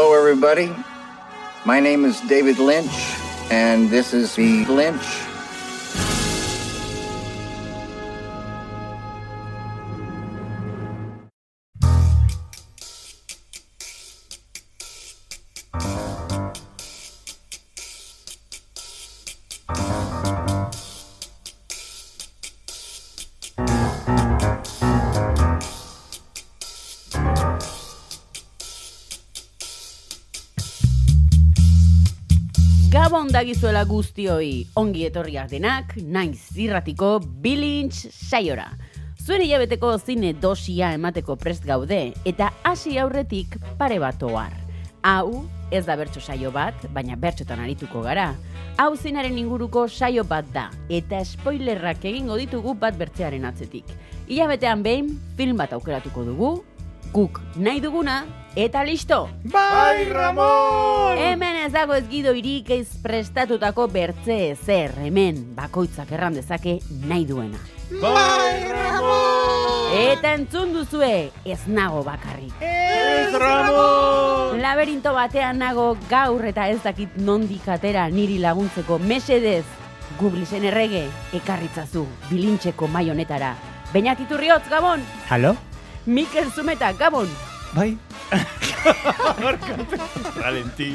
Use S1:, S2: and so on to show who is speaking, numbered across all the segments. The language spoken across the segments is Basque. S1: everybody. My name is David Lynch, and this is the Lynch
S2: Gabon dagizuela guztioi, ongi etorriak denak, naiz zirratiko bilintz saiora. Zuen hilabeteko zine dosia emateko prest gaude, eta hasi aurretik pare bat ohar. Hau, ez da bertso saio bat, baina bertsotan arituko gara. Hau zinaren inguruko saio bat da, eta spoilerrak egingo ditugu bat bertzearen atzetik. Hilabetean behin, film bat aukeratuko dugu, guk nahi duguna, eta listo!
S3: ¡Bye, Ramón!
S2: Hemen ez dago ez gidoirik ez prestatutako bertze ezer, hemen bakoitzak erran dezake nahi duena.
S3: ¡Bye, Ramón!
S2: Eta entzun duzue, ez nago bakarrik.
S3: ¡Es Ramón!
S2: Laberinto batean nago gaur eta ez dakit nondik atera niri laguntzeko mesedez. Gublisen errege, ekarritzazu, bilintxeko mai honetara. Beñat Iturriotz, Gabon!
S4: Halo?
S2: Mikel Zumeta, Gabon!
S4: Bai?
S3: Valentí.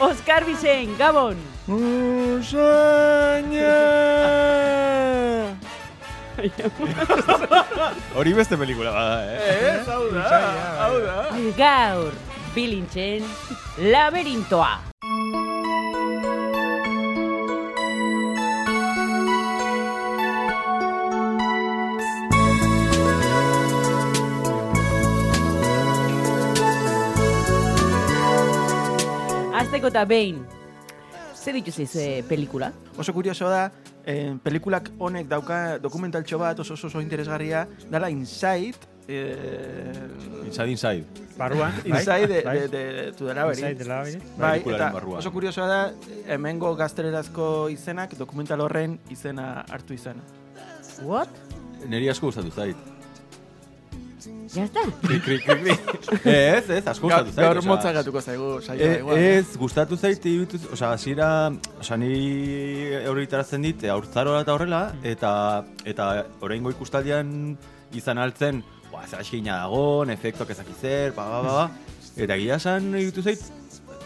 S2: Oskar Bixen, Gabon!
S3: ¡Usaña! Hori beste pelikula bada, este eh? Ez, hau da, hau da.
S2: Gaur, bilintxen laberintoa! Azteko eta behin, ze dituz ez pelikula?
S5: Oso kurioso da, eh, pelikulak honek dauka dokumentaltxo bat oso oso, oso interesgarria, dala Inside, eh,
S3: Inside Inside.
S4: Barruan?
S5: Bai, Inside de, de, de, to the Labyrinth.
S4: Bai, Inside the Labyrinth.
S5: Bai,
S3: Pelikularen
S5: eta
S3: barruan.
S5: oso kuriosoa da, hemengo gaztelerazko izenak dokumental horren izena hartu izana.
S2: What?
S3: Neri asko gustatu zait.
S2: Ya está.
S3: Krik, krik, krik, krik. Ez, ez, asko
S5: Gaur,
S3: gustatu zait.
S5: gaur
S3: osea,
S5: motzak gatuko
S4: eh,
S5: zaigu, saioa
S3: E,
S5: igual.
S3: ez, gustatu zait, irudituz, osea, hasiera, osea, ni horretaratzen dit, e, haurtzaroa eta horrela, eta, eta oraingo ikustaldian izan altzen, ba, ze askina dagon, efektuak ezakizer, ba, ba, ba, ba, eta gila esan iruditu zait,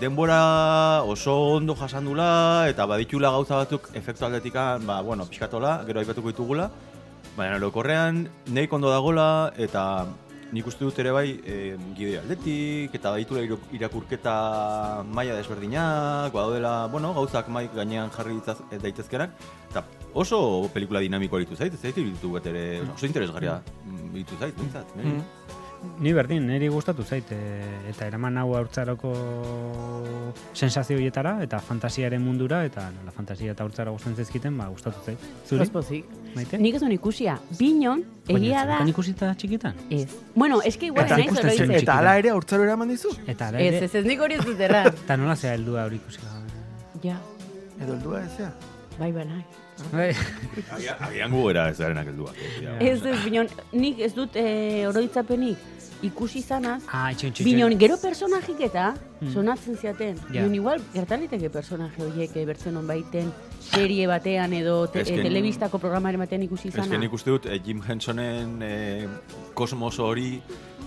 S3: denbora oso ondo jasandula, eta baditula gauza batzuk efektu aldetikan, ba, bueno, pixkatola, gero aipatuko ditugula, Baina lokorrean nahi kondo dagola eta nik uste dut ere bai e, gide aldetik eta baditula iru- irakurketa maila desberdinak, badaudela, bueno, gauzak mai gainean jarri ditzaz, daitezkenak eta oso pelikula dinamikoa ditu zait, ez zait ditu bat ere, oso interesgarria mm, ditu zait, bintzat, niri.
S5: Mm.
S4: Ni berdin, niri gustatu zait, e, eta eraman hau haurtzaroko sensazio horietara, eta fantasiaren mundura, eta nola fantasia eta haurtzara gustatzen zaizkiten, ba, gustatu zait. Zuri?
S2: Pospozik.
S4: Maite?
S2: Nik ez nuen ikusia. Binon, egia da.
S4: Pues, Baina, ikusita txikitan?
S2: Ez. Bueno, eski igual
S4: Eta
S2: naiz
S4: ikusten
S2: oro
S4: zen
S2: hitz-
S5: Eta ala ere aurtzaro eraman dizu?
S4: Eta ara
S2: Ez,
S4: ere,
S2: ez, ez nik hori ez dut erran.
S4: eta nola zea heldua hori ikusi
S5: Bai.
S4: gabe.
S2: ja,
S5: Edo heldua ezea.
S2: bai, bai, nahi.
S4: Bai.
S3: Agia- Agian gu era ez darenak helduak. eh, ja,
S2: Ez, ez, binon, nik ez dut eh, oroitzapenik ikusi izanaz.
S4: Ah, itxun, itxun,
S2: Binon,
S4: itxun.
S2: gero personajik eta sonatzen ziaten.
S4: Ja.
S2: Binon, igual, gertaliteke personaje horiek eh, bertzen baiten serie batean edo te,
S3: Ez que-
S2: eh, telebistako programaren batean ikusi
S3: Ez
S2: izana.
S3: que nik uste dut eh, Jim Hensonen eh, kosmos hori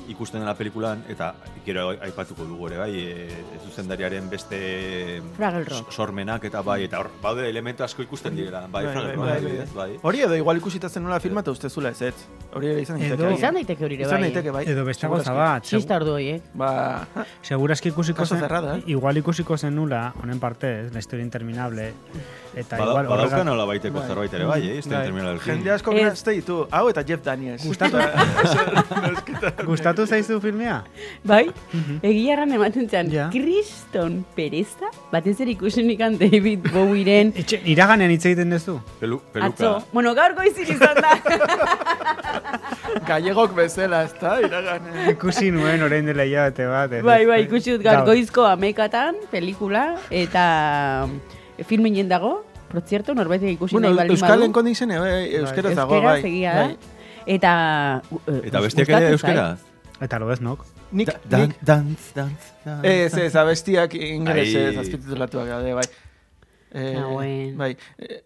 S3: ikusten dela pelikulan, eta gero aipatuko dugu ere, bai, eh, zuzendariaren beste mm,
S2: Fraggle Rock.
S3: s- sormenak eta bai, eta hor, baude elementu asko ikusten direla, bai,
S5: Bai,
S3: Fraggle
S5: bai,
S3: Rock
S5: bai,
S3: adibidez, bai.
S5: Hori edo igual ikusita zenula filma eta uste zula ez Hori ere izan
S4: Edo-
S5: daiteke. agian.
S2: Izan daiteke hori ere
S5: Izan
S2: bai, eh.
S5: daiteke bai.
S4: Edo beste
S5: Segurazki.
S4: gauza bat, segu-
S2: Txista ordu eh.
S3: Mhm.
S2: horiek.
S5: Ba,
S4: Segurazki ikusiko
S5: Casa
S4: zen,
S5: cerrada, eh?
S4: igual ikusiko zen nula, honen parte, la historia interminable, eta
S3: Bada,
S4: igual
S3: badauka
S4: horregat-
S3: nola baiteko zerbait ere, bai, eh, izten
S4: Bai.
S3: terminal
S5: jende asko
S2: Ez.
S5: grazte ditu. Hau eta Jeff Daniels.
S4: Gustatu- Gustatu zaizu filmea?
S2: Bai, egia erran ematen zen,
S4: Ja.
S2: kriston pereza, batez ere ikusen ikan David Bowieren
S4: Etxe, iraganean hitz egiten duzu?
S3: Pelu, peluka.
S2: atzo. Bueno, gaur goizin izan da.
S5: Gallegok bezala, ez da, iragan.
S4: Ikusi nuen orain dela hilabete bat. ez?
S2: bai, bai, ikusi dut gaur
S4: Gaur.
S2: goizko amekatan, pelikula, eta filminen dago, por cierto, norbait ikusi
S5: Bueno,
S2: nahi baldin
S5: Euskal
S2: badu.
S5: Enkon izen, euskera
S2: Euskeraz
S5: dago, bai.
S2: egia da. Eta... eh,
S3: Eta bestiak ere
S2: gustatu zait.
S3: euskera.
S4: Eta lo ez nok.
S5: Nik,
S3: Da- dan-
S5: nik,
S3: Dantz, dantz, dantz.
S5: ez, ez, abestiak ingelesez,
S3: Ai.
S5: azpititulatuak daude, bai.
S2: Ah,
S5: Eh,
S2: Nagoen.
S5: bai, eh,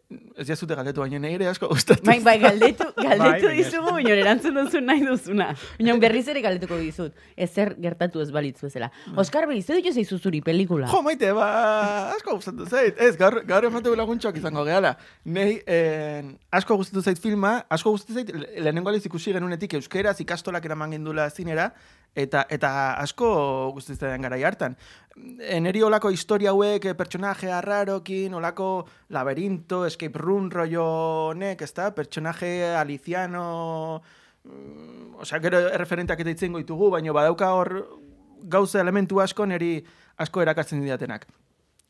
S5: ez jazute galdetu, baina nire asko gustatu.
S2: Bai, bai, galdetu, galdetu
S4: baina-
S2: dizugu, baina erantzun duzu nahi duzuna. Baina berriz ere galdetuko dizut. Ezer gertatu ez balitzu bezala. Oskar, berriz, zer ditu zeizu zuri pelikula?
S5: Bai. Jo, maite, ba, asko gustatu zait. Ez, gaur, gaur emate laguntxoak izango gehala. Nei, eh, asko gustatu zait filma, asko gustatu zait, le- lehenengo aldiz ikusi genunetik euskeraz ikastolak eraman gendula zinera, eta, eta asko gustatu zaidan garai hartan. Eneri olako historia hauek, eh, pertsonaje arrarokin, olako laberinto, escape room rollo honek, ez da, pertsonaje aliziano, osea, gero erreferenteak eta itzen goitugu, baina badauka hor gauza elementu asko neri asko erakartzen didatenak.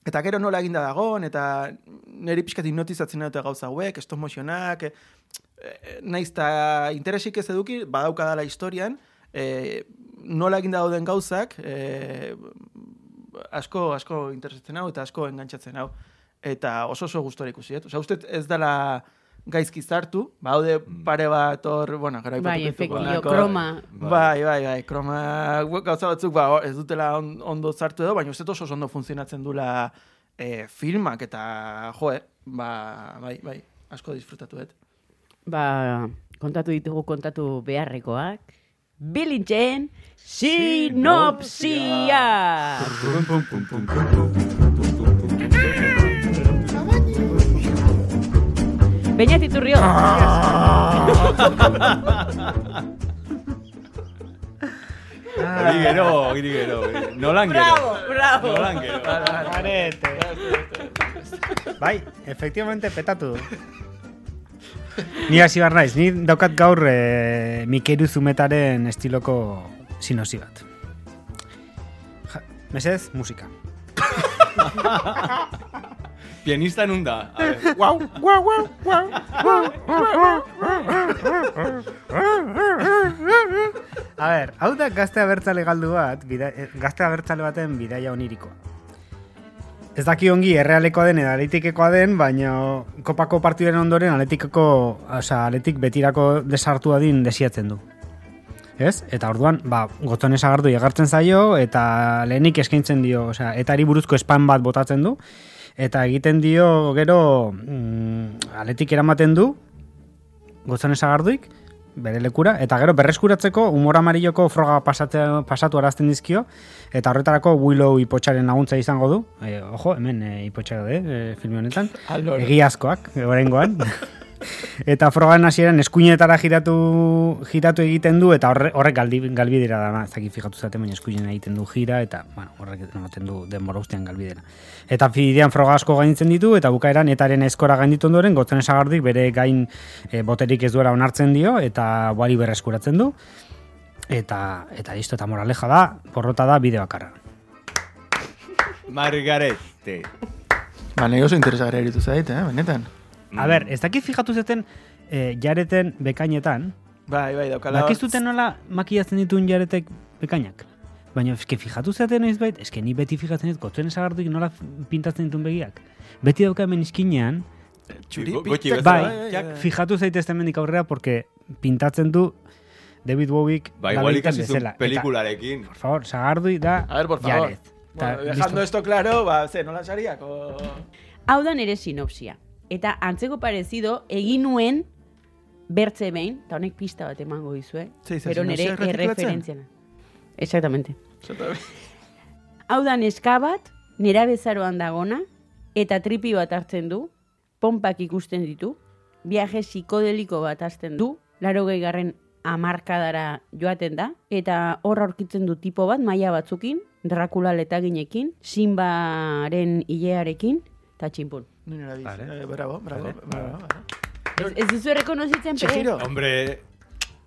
S5: Eta gero nola eginda dagoen, eta niri pixkat hipnotizatzen dute gauza hauek, stop motionak, e, e, nahiz eta interesik ez eduki, badauka dala historian, e, nola eginda dauden gauzak, e, asko, asko interesatzen hau, eta asko engantzatzen hau. Eta oso oso gustora ikusi, dut. Osea, uste dut ez dela gaizki zartu, baude pare bat hor, bueno, gero
S2: Bai,
S5: aipatuko
S2: efektio,
S5: ditugu, holako-
S2: kroma.
S5: Bai, bai, bai, kroma gu- gauza batzuk ba, hor- ez dutela on- ondo zartu edo, baina uste dut oso oso ondo funtzionatzen dula e, filmak eta jo, eh, ba, bai, bai, asko disfrutatu dut.
S2: Ba, kontatu ditugu kontatu beharrekoak. Bilintxen sinopsia! Beñat Iturrio.
S4: Ah,
S3: Hori Ah, gero, hori gero. hori- Nolan gero.
S2: Bravo, bravo.
S3: Nolan gero.
S4: Arete. bai, efectivamente petatu. ni hasi bar naiz, ni daukat gaur eh, Mikeru Zumetaren estiloko sinosi bat. Ja, mesedez, musika.
S3: Pianista nun da. A ver,
S5: Guau, guau, guau, guau.
S4: A ber, hau da gazte abertzale galdu bat, bida, eh, gazte abertzale baten bidaia onirikoa. Ez daki ongi errealekoa den edo aletikekoa den, baina kopako partiden ondoren aletikeko, oza, aletik betirako desartu adin desiatzen du. Ez? Eta orduan, ba, gotones agardu egartzen zaio, eta lehenik eskaintzen dio, oza, etari buruzko espan bat botatzen du, eta egiten dio gero mm, aletik eramaten du, gozones agarduik, bere lekura, eta gero berreskuratzeko humor amarilloko froga pasatea, pasatu arazten dizkio, eta horretarako Willow ipotxaren laguntza izango du, e, ojo, hemen e, ipotxak daude e, filme honetan,
S5: Alor.
S4: egiazkoak, horrengoan, eta frogan hasieran eskuinetara giratu, giratu egiten du, eta horre- horrek galdi, galbidera da, ez dakit fijatu zaten, baina eskuinen egiten du gira, eta bueno, horrek ematen du denbora ustean galbidera. Eta fidean froga asko gainditzen ditu, eta bukaeran etaren eskora gainditu ondoren, gotzen esagardik bere gain e, boterik ez duela onartzen dio, eta wari berreskuratzen du, eta eta listo, eta moraleja da, porrota da bide bakarra.
S3: Margarete.
S5: Ba, nahi oso interesagarria eritu zait, eh, benetan.
S4: A ber, ez dakit fijatu zeten e, jareten bekainetan,
S5: Bai, bai, daukala. hor-
S4: Bakizuten nola makiatzen dituen jaretek bekainak? Baina eske fijatu zaten noiz bait, eske ni beti fijatzen dut gotzen esagartuik nola f- pintatzen dituen begiak. Beti dauka hemen iskinean,
S5: Txuri
S3: Go- gotxi
S5: pitak,
S3: bezala,
S5: bai,
S3: jak.
S5: bai,
S4: fijatu zaitezte hemendik aurrera, porque pintatzen du David Bowiek
S3: Ba, igual
S4: Davidan
S3: ikasi zuen
S4: bezala.
S3: pelikularekin.
S4: Eta, por favor, sagardui da
S5: A ver, por favor.
S4: Jared. Eta,
S5: Bueno,
S4: listo.
S5: dejando esto claro, ba, ze, nola sariak, o...
S2: Hau da nere sinopsia. Eta antzeko parezido egin nuen bertze behin, eta honek pista bat emango dizue,
S5: Ze izan
S2: pero nere
S5: sinopsia erretitulatzen?
S2: erreferentziana. Exactamente.
S5: Zota-
S2: Hau da neska bat, nera bezaroan dagona, eta tripi bat hartzen du, pompak ikusten ditu, viaje psikodeliko bat hartzen du, laro garren amarkadara joaten da, eta hor aurkitzen du tipo bat, maila batzukin, Dracula letaginekin, Simbaren hilearekin, eta tximpun.
S5: Ni nera biz.
S4: Vale.
S5: Eh, Bravo, bravo, bravo. bravo.
S2: Ez, ez duzu rekonozitzen,
S5: Chihiro.
S3: Hombre,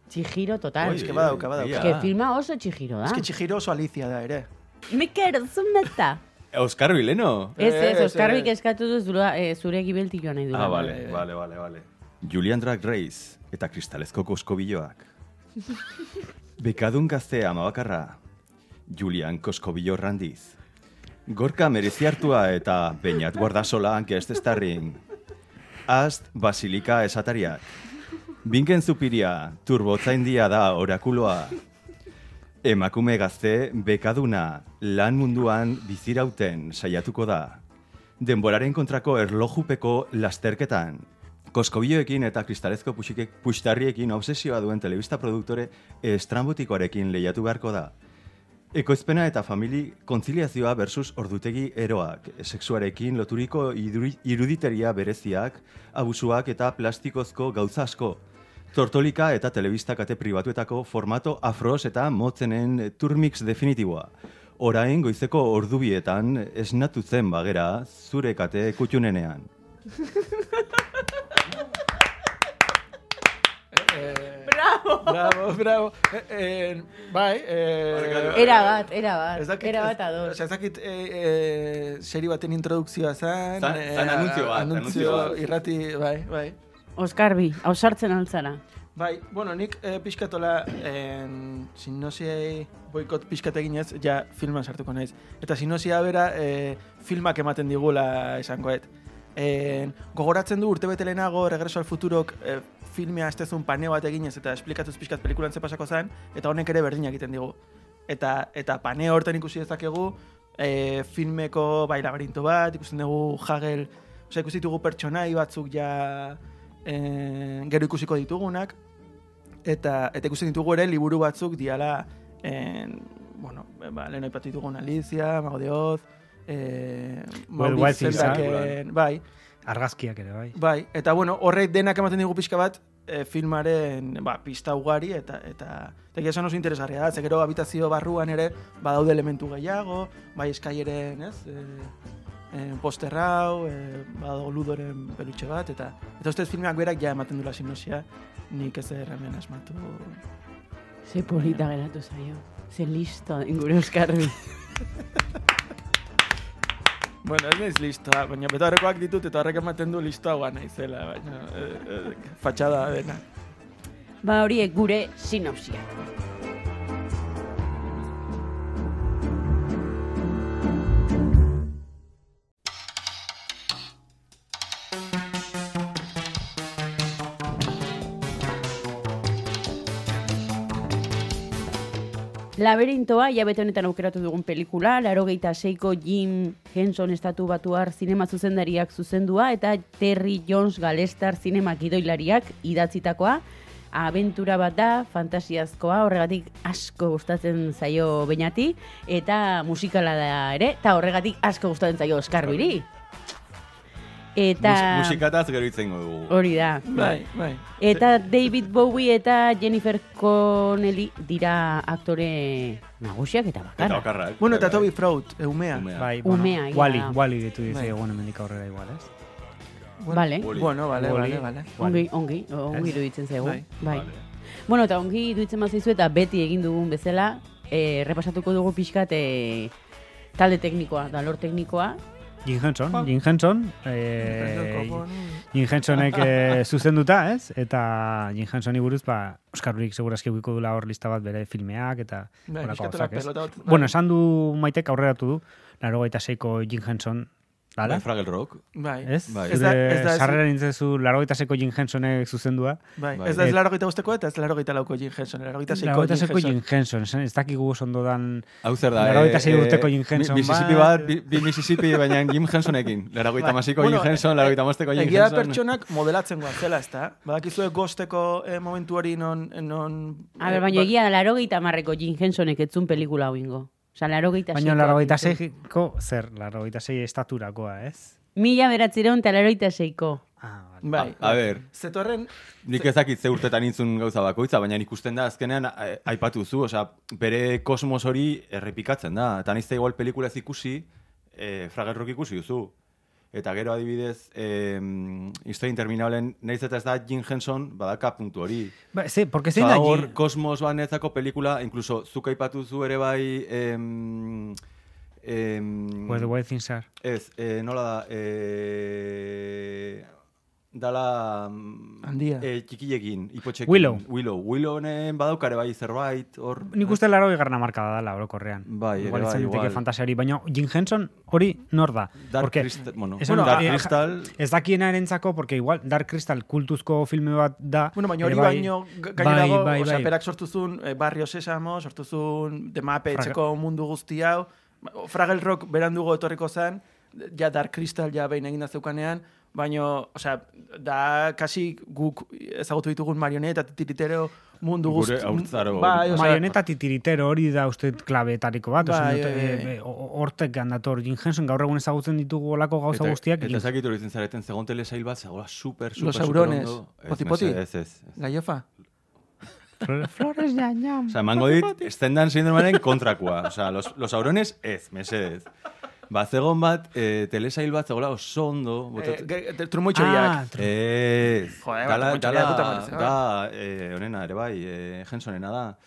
S2: Txijiro, total.
S5: Oi,
S2: Es
S5: eske badauka, badauka.
S2: que filma oso txijiro da.
S5: Es que
S4: Ah.
S5: Chihiro oso Alicia da ere.
S2: Mikel, zumeta.
S3: Oscar Vileno.
S2: Ez,
S5: Eh,
S2: ez,
S5: ez,
S2: Oskarbik
S5: ez.
S2: eskatu du zura, eh, zure gibelti joan nahi dula.
S3: Ah, vale, vale, vale, vale. Julian Drag Race eta kristalezko koskobiloak. Bekadun gaztea amabakarra. Julian koskobillo randiz. Gorka mereziartua eta beinat guardasola hankez estarrin. Ast basilika esatariak. Binken zupiria, turbotzaindia da orakuloa. Emakume gazte bekaduna lan munduan bizirauten saiatuko da. Denboraren kontrako erlojupeko lasterketan. Koskobiloekin eta kristalezko puxikek puxtarriekin obsesioa duen telebista produktore estrambutikoarekin lehiatu beharko da. Ekoizpena eta famili kontziliazioa versus ordutegi eroak, sexuarekin loturiko iduri- iruditeria bereziak, abusuak eta plastikozko gauza asko. Tortolika eta telebista kate pribatuetako formato afros eta motzenen turmix definitiboa. Orain goizeko ordubietan esnatu zen bagera zure kate kutxunenean.
S2: Bravo!
S5: Bravo, bravo. Eh, eh, bai, eh,
S2: Era bat, era
S5: Ez
S2: bat,
S5: dakit,
S2: era bat
S5: ez-
S2: ados.
S5: ez dakit, e, e, seri baten introdukzioa zen.
S3: Zan-
S5: eh,
S3: zan anuntzio bat,
S5: anuntzio,
S3: anuntzio bat.
S5: irrati, bai, bai.
S2: Oskar bi, hausartzen altzara.
S5: Bai, bueno, nik eh, pixkatola, en, sinosiei boikot pixkat eginez, ja filman sartuko naiz. Eta sinosia bera, eh, filmak ematen digula esangoet. En, gogoratzen du urtebete lehenago Regreso al Futurok eh, filmea estezun paneo bat eginez eta esplikatuz pixkat pelikulan ze pasako zen, eta honek ere berdina egiten digu. Eta, eta paneo horten ikusi dezakegu, eh, filmeko bai laberinto bat, ikusten dugu Hagel, osea ikusi ditugu pertsonai batzuk ja eh, gero ikusiko ditugunak, eta eta ikusten ditugu ere liburu batzuk diala en, bueno, ba, lehen aipatu ditugun Alicia, Mago de Oz, eh,
S4: Well,
S5: Maurice
S4: White Things,
S5: Sendaken, bai,
S4: Argazkiak ere, bai.
S5: bai, eta bueno, horrek denak ematen digu pixka bat eh, filmaren ba, pista ugari eta eta eta egia esan oso interesgarria da, ze gero habitazio barruan ere badaude elementu gehiago, bai eskaileren, ez? Eh, eh, poster hau, eh, badago ludoren pelutxe bat, eta eta ustez filmak berak ja ematen dula sinosia, nik ez erremen asmatu
S2: Ze polita geratu zaio. Ze listo den gure Oskar bi.
S5: Bueno, ez naiz listoa, baina betaurrekoak ditut eta horrek ematen du listoagoa naizela, baina eh, eh, fatxada dena.
S2: Ba horiek gure sinopsiak. Laberintoa, jabete honetan aukeratu dugun pelikula, laro geita seiko Jim Henson estatu batuar zinema zuzendariak zuzendua eta Terry Jones galestar zinema gidoilariak idatzitakoa. Abentura bat da, fantasiazkoa, horregatik asko gustatzen zaio beinati, eta musikala da ere, eta horregatik asko gustatzen zaio Oskarbiri. Eta...
S3: Mus- musikataz gero itzengo dugu.
S2: Hori da.
S5: Bai, bai.
S2: Eta David Bowie eta Jennifer Connelly dira aktore nagusiak eta
S3: Eta
S2: bakarra.
S3: okarrak. Bai,
S5: Bueno, eta Toby Fraud, eh, umea.
S3: Umea.
S4: Bai,
S2: Umea, ia.
S4: Wally, Wally ditu
S5: Bai.
S4: dizaigun hemendik aurrera igual, ez?
S5: Bueno,
S2: Vale.
S3: Wall-E.
S5: Bueno, vale,
S4: Wall-E.
S5: vale, vale.
S2: Ongi, ongi, ongi
S4: Ez?
S2: iruditzen zaigu.
S5: Bai.
S2: Bai. Bueno, eta ongi iruditzen bazaizu eta beti egin dugun bezala, eh, repasatuko dugu pixkat eh, talde teknikoa, da lor teknikoa.
S4: Jim Henson, Jim Henson, eh, Jim Hensonek eh, zuzenduta, ez? Eta Jim Hensoni buruz, ba, Oscar Lurik segurazki eukiko dula hor lista bat bere filmeak, eta
S5: Bai,
S4: horako
S5: pixkatu la
S4: gauzak, ez?
S5: pelota bat, bai.
S4: Bueno, esan du maitek aurreratu du, laro gaita seiko Jim Henson, dala?
S3: Bai, Fraggle Rock.
S5: Bai.
S4: Ez?
S3: Bai.
S4: Zure
S5: Ez da- ez da- ez-
S4: sarrera nintzezu laro gaita seiko Jim Hensonek zuzendua.
S5: Bai.
S3: Bai.
S5: Ez da ez
S4: Et-
S5: laro gita usteko eta ez laro gita lauko Jim Henson. Laro gita
S4: Laro
S5: seiko
S4: gaita
S5: Jim
S4: seiko Jim
S5: Henson.
S4: Henson, esan, ez dakigu oso ondo dan...
S3: Hau zer da, eh,
S4: Laurogeita sei urteko Jim Henson bai.
S3: Mi- Mississippi
S4: bat.
S3: bat, bi, bi Mississippi, baina Jim Hensonekin. Laragoita
S5: Bai.
S3: masiko
S5: Bueno,
S3: Jim Henson, laragoita mosteko Jim
S5: Egia da
S3: Henson.
S5: pertsonak modelatzen goa zela, ez da? Badakizue gozteko eh, momentu hori non... non
S2: A ber,
S5: ba-
S2: baina egia da laro gehieta marreko Jim Hensonek etzun pelikula hoingo. Osa, laro gehieta
S4: Baina laro gaita seiko, zer, laro gaita sei estaturakoa, ez?
S2: Mila beratzireun eta laro gehieta seiko.
S4: Ah, vale.
S5: Bai.
S3: A- a ber.
S5: Zetorren...
S3: Nik ezakit ze urtetan intzun gauza bakoitza, baina ikusten da azkenean a- aipatu zu, osea, bere kosmos hori errepikatzen da. Eta nizte igual pelikula ez ikusi, e, Fraggle Rock ikusi duzu. Eta gero adibidez, e, historia interminablen, nahiz eta ez da Jim Henson, badaka puntu hori.
S4: Ba, ze, porque zein da
S3: Eta
S4: Jim...
S3: hor, Kosmos banetzako pelikula, inkluso, zuk aipatu zu ere bai... Em, em,
S4: Pues Where the Wild Things Are.
S3: ez, eh, nola da... Eh, dala mm,
S5: Handia.
S3: eh, txikilekin, ipotxekin.
S4: Willow.
S3: Willow. Willow honen badaukare bai zerbait, hor...
S4: Nik uste laro garna marka da dala, orokorrean.
S3: Bai, ere
S4: igual
S3: bai,
S4: izan diteke
S3: igual.
S4: fantasiari, baina Jim Henson hori nor da.
S3: Dark
S4: Porque-
S3: Crystal, bueno,
S4: Esan da,
S3: Dark
S4: eh,
S3: Crystal-
S4: Ez dakiena erentzako, porque igual Dark Crystal kultuzko filme bat da.
S5: Bueno, baina
S4: ere
S5: hori
S4: bai-
S5: baino ga-
S4: bai,
S5: gainerago,
S4: bai,
S5: osea,
S4: bai.
S5: berak sortu zuen eh, Barrio Sesamo, sortu zuen The Mape,
S4: Fraga-
S5: etxeko mundu guzti hau, o, Fraggle Rock berandugo etorriko zen, ja Dark Crystal ja behin eginda zeukanean, baino, osea, da kasi guk ezagutu ditugun marioneta, titiritero mundu
S3: Gure
S5: guzti.
S3: haurtzaro.
S5: Bai, osea,
S4: Marioneta titiritero hori da uste dut klabeetariko bat,
S5: Bai,
S4: osan dut,
S5: bai,
S4: eh,
S5: bai.
S4: eh, o- hortek gandator Jim Henson, gaur egun ezagutzen ditugu olako gauza guztiak.
S3: Eta
S4: Jim-
S3: ezakit hori izan zareten, zegoen telesail bat, zegoela super, super,
S5: Los
S3: super
S5: Saurones.
S3: ondo. Ez,
S5: Poti-poti?
S3: mesedez, Ez, ez, ez.
S5: Gaiofa?
S4: Flores de Añam.
S3: Osa, emango dit, estendan sindromaren kontrakoa. Osa, los, los aurones, ez, mesedez. Bazegon bat, eh, telesail bat, zegoela oso ondo.
S5: Eh,
S3: botat-
S5: ge- ge-
S4: Ah,
S5: Trumoitxoriak.
S3: Ez.
S5: Joder,
S3: dala,
S5: bat,
S3: dala,
S5: puta madre, zera.
S3: da, eh, honena, ere bai, eh, Hensonena da.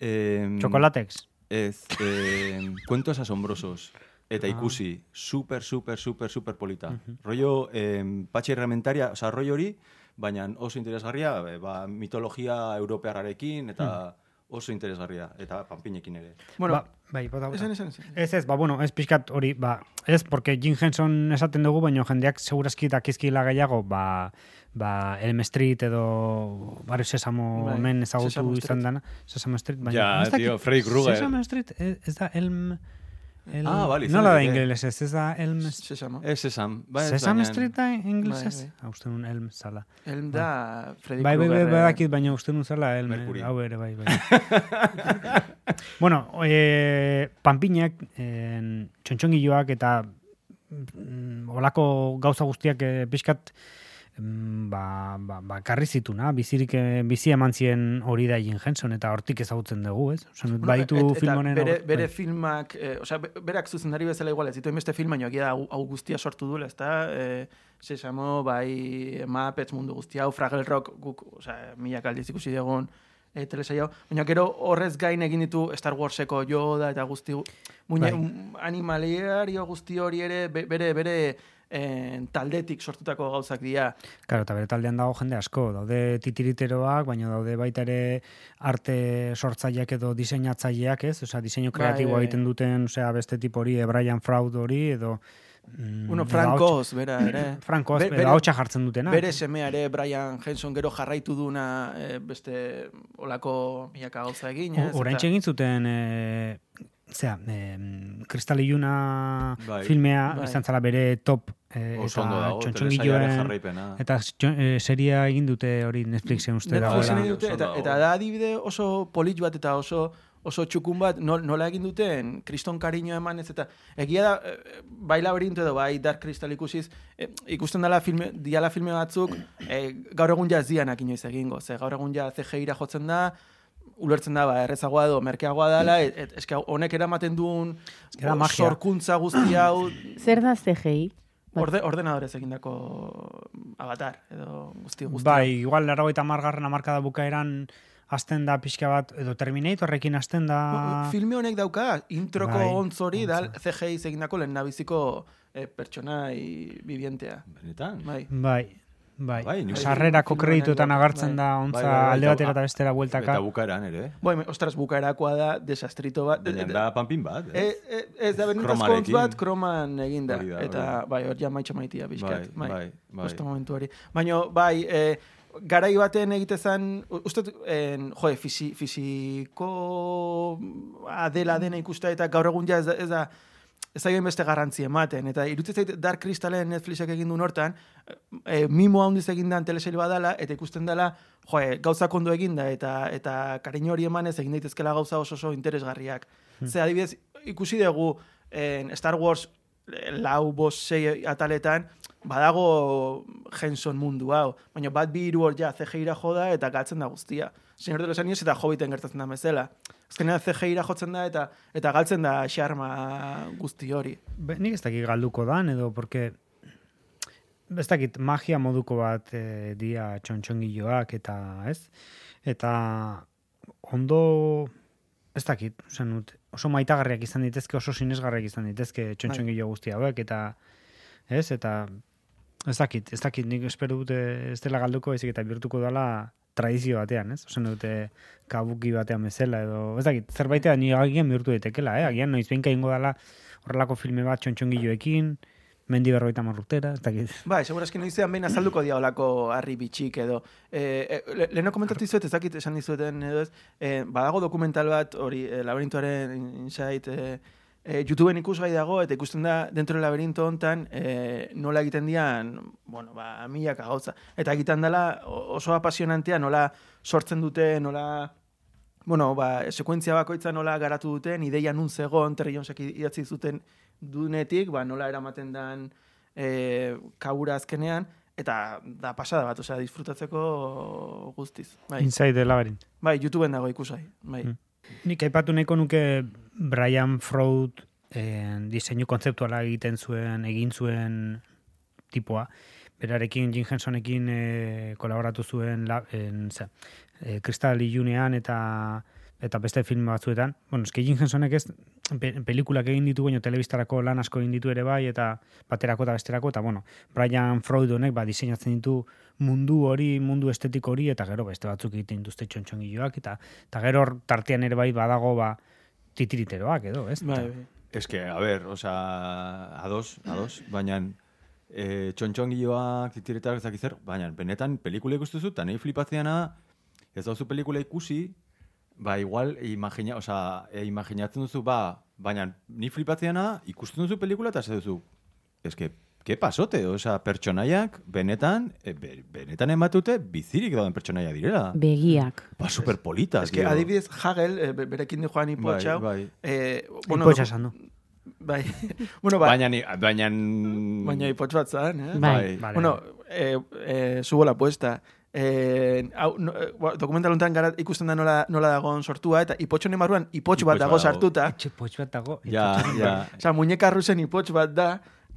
S3: Eh,
S4: Chocolatex.
S3: Ez, eh, cuentos asombrosos.
S4: Ah.
S3: Eta ikusi, super, super, super, super polita.
S4: Mhm.
S3: Rollo, eh, patxe irrementaria, oza, rollo hori, baina oso interesgarria, eh, ba, mitologia europearrarekin,
S4: Hmm.
S3: eta oso interesgarria, eta panpinekin ere.
S5: Bueno,
S4: Ba- bai, bota, bota.
S5: esan, esan, esan.
S4: Ez ez, ba, bueno, ez pixkat hori, ba, ez, porque Jim Henson esaten dugu, baina jendeak segurazki dakizkila gehiago, ba, ba, Elm Street edo Barrio Sesamo
S5: Bai,
S4: hemen ezagutu
S5: Sesame Street.
S4: izan dana, Sesame Street, baina...
S3: Ja,
S4: ez dakit-
S3: tío, Freddy Krueger.
S4: Sesame Street, ez, ez da Elm... El,
S3: Ah, bale, izan
S4: Nola da
S3: daiteke.
S4: ingelesez, ez da Elm...
S5: Sesamo.
S3: Ez esan. Ba, ez
S4: Sesame
S3: baina-
S4: Street da ingelesez?
S5: Bai,
S4: Hau, uste nun Elm zala.
S5: Elm da Freddy
S4: Bai, bai, bai,
S5: Kruegerren-
S4: badakit, baina uste nun zala, el,
S3: Mercury.
S4: hau ere, bai, bai. bueno, e, panpinak, en, txontxongilloak eta mm, olako gauza guztiak e, pixkat mm, ba, ba, ba, karri zituna, bizirik, eh, bizi eman zien hori da Jim Henson, eta hortik ezagutzen dugu, ez? Osan, dut,
S5: Bueno,
S4: baditu
S5: et- eta
S4: film honen...
S5: Bere,
S4: aur-
S5: bere
S4: bai.
S5: filmak, eh, osea, be- berak zuzendari bezala igual, ez ditu beste film, baina egia da hau- hau guztia sortu duela, ezta? Eh, Sesamo, bai, Muppets mundu guztia, hau Fraggle Rock, guk, osea, milak aldiz ikusi dugun, eh, telesail hau. Baina gero horrez gain egin ditu Star Warseko Yoda eta guzti, gu- muñe,
S4: Bai.
S5: mm, animaliario guzti hori ere, be- bere, bere, eh, taldetik sortutako gauzak dira.
S4: Claro, eta bere taldean dago jende asko, daude titiriteroak, baina daude baita ere arte sortzaileak edo diseinatzaileak, ez? Osea, diseinu
S5: Bai, bai,
S4: kreatiboa
S5: bai.
S4: egiten duten, osea, beste tipo hori, e, Brian Fraud hori, edo... Mm,
S5: Bueno,
S4: edo
S5: Frankoz, bera, ere.
S4: ahots- Franco,
S5: Be-
S4: edo
S5: bere-
S4: hautsa jartzen dutena.
S5: Bere semea ere Brian Henson gero jarraitu duna eh, beste olako milaka gauza egin, ez?
S4: Orain
S5: Eta-
S4: egin zuten, e, zera, e, Kristal Iluna
S3: Bai.
S4: filmea,
S5: Bai.
S4: izan zala bere top, e,
S3: Oso ondo
S4: eta
S3: dago, telesailaren
S4: txontxongilloen...
S3: jarraipena.
S4: Eta txon- e, seria egin dute hori Netflixen uste
S5: Netflixen
S4: dagoela.
S5: egin dute,
S3: Oso
S5: eta,
S3: dago.
S5: eta da adibide oso polit bat eta oso oso txukun bat, nol- nola egin duten, kriston kariño eman ez, eta egia da, eh, bai laberinto edo, bai Dark Crystal ikusiz, eh, ikusten dela filme, diala filme batzuk, eh, gaur egun ja ez dianak inoiz egingo, ze gaur egun ja CGI-ra jotzen da, ulertzen da, ba, errezagoa edo, merkeagoa dela, et, et, eske honek eramaten duen
S4: Mm. que da magia.
S5: sorkuntza guzti hau,
S2: Zer da CGI?
S5: Orde, ordenadorez egindako avatar, edo guzti guzti.
S4: Bai, igual laro eta margarren amarkada bukaeran hasten da pixka bat, edo Terminatorrekin hasten da...
S5: Filme honek dauka, introko
S4: Bai,
S5: Ah. ontz hori, da,
S4: ontza.
S5: CGI egindako lehen nabiziko eh, pertsonai bibientea.
S3: Benetan.
S5: Bai.
S4: Bai, bai.
S3: Bai, nik-
S4: Sarrerako
S5: Filme
S4: kredituetan
S5: honen
S4: agartzen
S5: bai.
S4: da
S3: Bai,
S4: ontza
S3: bai, bai,
S4: alde batera
S3: ah,
S4: eta bestera bueltaka.
S3: Eta bukaeran ere.
S5: Boi, ostras, bukaerakoa da, desastrito bat.
S3: Baina da panpin bat.
S5: E,
S3: ez?
S5: e, ez da benetazko
S3: Kromarekin.
S5: ontz bat, kroman eginda.
S3: Hori da, hori
S5: eta
S3: da.
S5: bai, hor ja maitxa maitia bizkat.
S3: Bai, bai, bai.
S5: Justo momentu hori. Baina, bai, eh, garai baten egite zen, u- uste, dut, en, jo, e, fisi, fisiko adela dena ikusta eta gaur egun ja ez da, ez da ez da beste garrantzi ematen. Eta irutzen zait Dark Crystalen Netflixek egin du hortan, e, mimo handiz egin dan telesail badala, eta ikusten dela, jo, e, gauzak ondo eginda, eta, eta kariño hori emanez egin daitezkela gauza oso oso interesgarriak.
S3: Hmm.
S5: Ze adibidez, ikusi dugu en Star Wars eh, lau, bost, sei ataletan, badago Henson mundu hau, baina bat bi hiru hor ja CGI-ra joda eta galtzen da guztia. Señor de los Anillos eta Hobbiten gertatzen da bezala. Azkenean CGI-ra jotzen da eta eta galtzen da xarma guzti hori.
S4: Be- Nik ez dakit galduko dan, edo, porque... Ez dakit magia moduko bat e, dia txontxongilloak eta, ez? Eta ondo... Ez dakit, esan dut, oso maitagarriak izan ditezke, oso sinesgarriak izan ditezke txontxongilo guzti hauek, eta... Ez, eta... Ez dakit, ez dakit, nik espero dute ez dela galduko, ezik eta bihurtuko dela tradizio batean, ez? Ozen dute kabuki batean bezala, edo, ez dakit, zerbaitean ni agian bihurtu daitekela, eh? Agian noiz benka ingo dela horrelako filme bat txontxongiloekin, mendi berroita marrutera, ez dakit.
S5: Bai, segurazki noizean behin azalduko dia olako harri bitxik edo. E, e, le, leheno komentatu izuet, ez dakit esan dizueten edo ez, e, badago dokumental bat, hori, e, labirintuaren insight, e, e, YouTubeen ikusgai dago, eta ikusten da, dentro del labirinto hontan, e, nola egiten dian, bueno, ba, milaka gauza. Eta egiten dela o- oso apasionantea, nola sortzen dute, nola bueno, ba, sekuentzia bakoitza nola garatu duten, ideia nun zegoen, Terry Jonesek idatzi zuten dunetik, ba, nola eramaten dan e, kabura azkenean, eta da pasada bat, osea, disfrutatzeko guztiz. Bai,
S4: Inside the Labyrinth.
S5: bai YouTubeen dago ikusai. Bai.
S4: Mm. Nik aipatu nahiko nuke Brian Froud eh, diseinu kontzeptuala egiten zuen, egin zuen tipoa. Berarekin Jim Hensonekin eh, kolaboratu zuen la, en, ze, eh, Crystal Ilunean eta eta beste film batzuetan. Bueno, eske Jim Hensonek ez pe, pelikulak egin ditu baino telebistarako lan asko egin ditu ere bai eta baterako eta besterako eta bueno, Brian Freud honek ba diseinatzen ditu mundu hori, mundu estetik hori eta gero beste batzuk egiten dituzte txontxongiloak eta eta gero hor tartean ere bai badago ba titiriteroak edo, ez?
S5: Bai,
S4: Eta-
S5: bai.
S3: Ez que, a ber, oza, ados, ados, baina e, txontxongiloak, titiretak, ez dakit zer, baina benetan pelikula ikustu zu, eta nahi flipatzeana, ez dauzu pelikula ikusi, ba, igual, imagina, oza, e, imaginatzen duzu, ba, baina ni flipatzeana, ikusten duzu pelikula, eta ez duzu, ez que, ke pasote, oza, pertsonaiak, benetan, e, be, benetan ematute, bizirik dauden pertsonaiak direla.
S2: Begiak.
S3: Ba, superpolita.
S5: Ez que, adibidez, Hagel, e, be- berekin di joan
S3: Bai,
S5: ipotxau,
S3: bai.
S5: eh, bueno,
S4: Ipotxa esan du.
S5: Bai, bueno, ba,
S3: Baina,
S5: baina,
S3: ni- baina...
S5: baina ipotx bat zan, eh?
S2: Bai.
S4: Vale.
S5: Bueno, eh, eh, subo la apuesta. Eh, hau, no, eh, ba, dokumental honetan gara ikusten da nola, nola dagoen sortua, eta ipotxonen barruan ipotx
S3: Ipotx
S5: bat
S3: bat
S5: dago
S3: dago.
S5: sartuta.
S4: Etxe potx bat dago.
S3: Ja, ja.
S5: Osea, muñeka rusen ipotx bat da,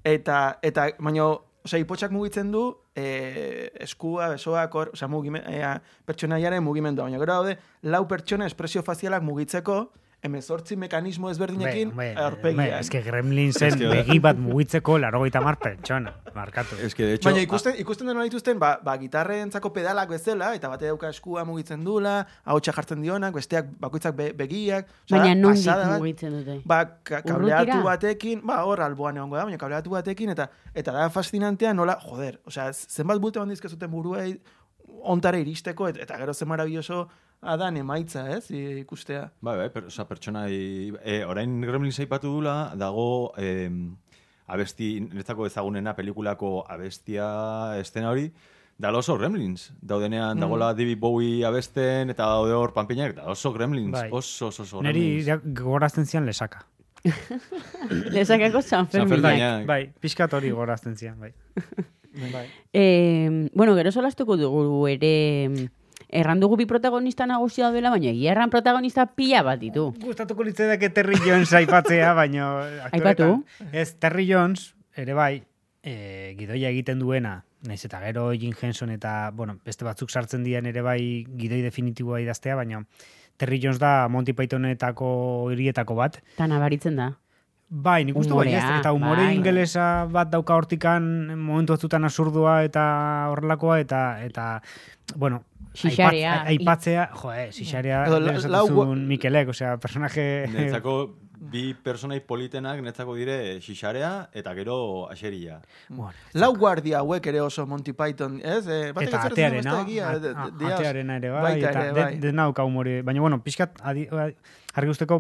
S5: eta, eta baino, osea, ipotxak mugitzen du, eh, eskua, besoak, hor, osea, mugime, ea, pertsonaiaren mugimendua. Baina gero daude, lau pertsona espresio fazialak mugitzeko, emezortzi mekanismo ezberdinekin,
S4: Hombre, hombre, hombre,
S5: aurpegian.
S4: Es que Gremlinsen
S3: que-
S4: begi bat mugitzeko larogeita mar pertsona, markatu.
S3: Es que, de hecho... ah,
S2: ah,
S5: Baina ikusten, ikusten dena dituzten, ba, ba, gitarrentzako pedalak bezala, eta bate dauka eskua mugitzen dula, ahotsa jartzen dionak, besteak bakoitzak be, begiak. osea,
S2: Baina
S5: da,
S2: nondik
S5: Ba, pasada bat.
S2: mugitzen dute.
S5: Ba, ka kableatu
S2: Urrutira?
S5: batekin, ba, hor alboan egongo da, baina kableatu batekin, eta eta da fascinantea nola, joder, osea, zenbat bulte handi dizkezuten buruei ontara iristeko, eta, eta gero zen maravilloso adan emaitza, ez, i- ikustea.
S3: Bai, bai, per, oza, pertsona... E, orain Gremlins aipatu dula, dago... em, abesti, niretzako ezagunena pelikulako abestia estena hori, da oso Gremlins.
S5: Mm.
S3: Daudenean, dagola David Bowie abesten, eta daude hor panpinak, da oso Gremlins,
S4: Bai.
S3: oso, oso, oso
S4: Neri
S3: Gremlins.
S4: ja, gorazten zian lesaka.
S2: Lezakako San
S3: San eh.
S2: Ferminak.
S3: Ferminak.
S4: Bai, pixkat hori gorazten zian, bai.
S5: Bai.
S2: Eh, bueno, gero solastuko dugu ere... Erran dugu bi protagonista nagusia dela, baina egia erran protagonista pila bat ditu.
S4: Gustatuko litzedak Terry Jones aipatzea, baino... aktoretan- Ez, Terry Jones, ere bai, e, gidoia egiten duena, naiz eta gero Jim Henson eta, bueno, beste batzuk sartzen dian ere bai gidoi definitiboa idaztea, baina Terry Jones da Monty Pythonetako hirietako bat,
S2: Eta nabaritzen da.
S4: Bai, nik uste bai, ez.
S2: Umorea,
S4: Eta umore
S2: bai.
S4: ingelesa bat dauka hortikan momentu batzutan asurdua eta horrelakoa, eta, eta bueno,
S2: Xixarea.
S4: aipat- aipatzea, jo, eh, xixarea,
S5: Edo
S4: lehen
S5: la-
S4: esaten
S5: lau-
S4: zuen Mikelek, osea, personaje...
S3: Netzako bi personai politenak netzako dire xixarea eta gero axeria.
S4: Bueno,
S5: Lau guardia hauek ere oso Monty Python, ez? Eh, batek
S4: eta
S5: ez zertzen
S4: atearena,
S5: beste egia, eh,
S4: a-
S5: de-
S4: a-
S5: de- de-
S4: atearena ere bai,
S5: baita
S4: eta
S5: ere,
S4: de,
S5: bai.
S4: dena dauka umore, baina bueno, pixkat adi, adi- argi usteko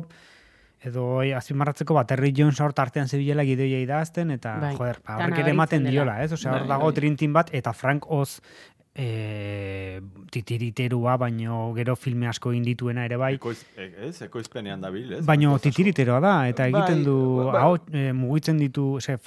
S4: edo eh, azpimarratzeko bat Terry Jones hor tartean zebilela gidoia idazten eta
S2: Bai.
S4: joder, ba,
S2: Eta
S4: horrek ere
S2: nabaritzen
S4: ematen
S2: dela.
S4: diola, ez? Osea, hor
S5: Bai,
S4: dago
S5: bai.
S4: trintin bat eta Frank Oz eh, titiriterua, baino gero filme asko egin dituena ere bai.
S3: Ekoiz, e- ez, ekoizpenean dabil, ez?
S4: Baino
S3: Oso-
S4: titiriteroa da eta egiten
S5: Bai,
S4: du
S5: bai.
S4: hau mugitzen ditu, ose,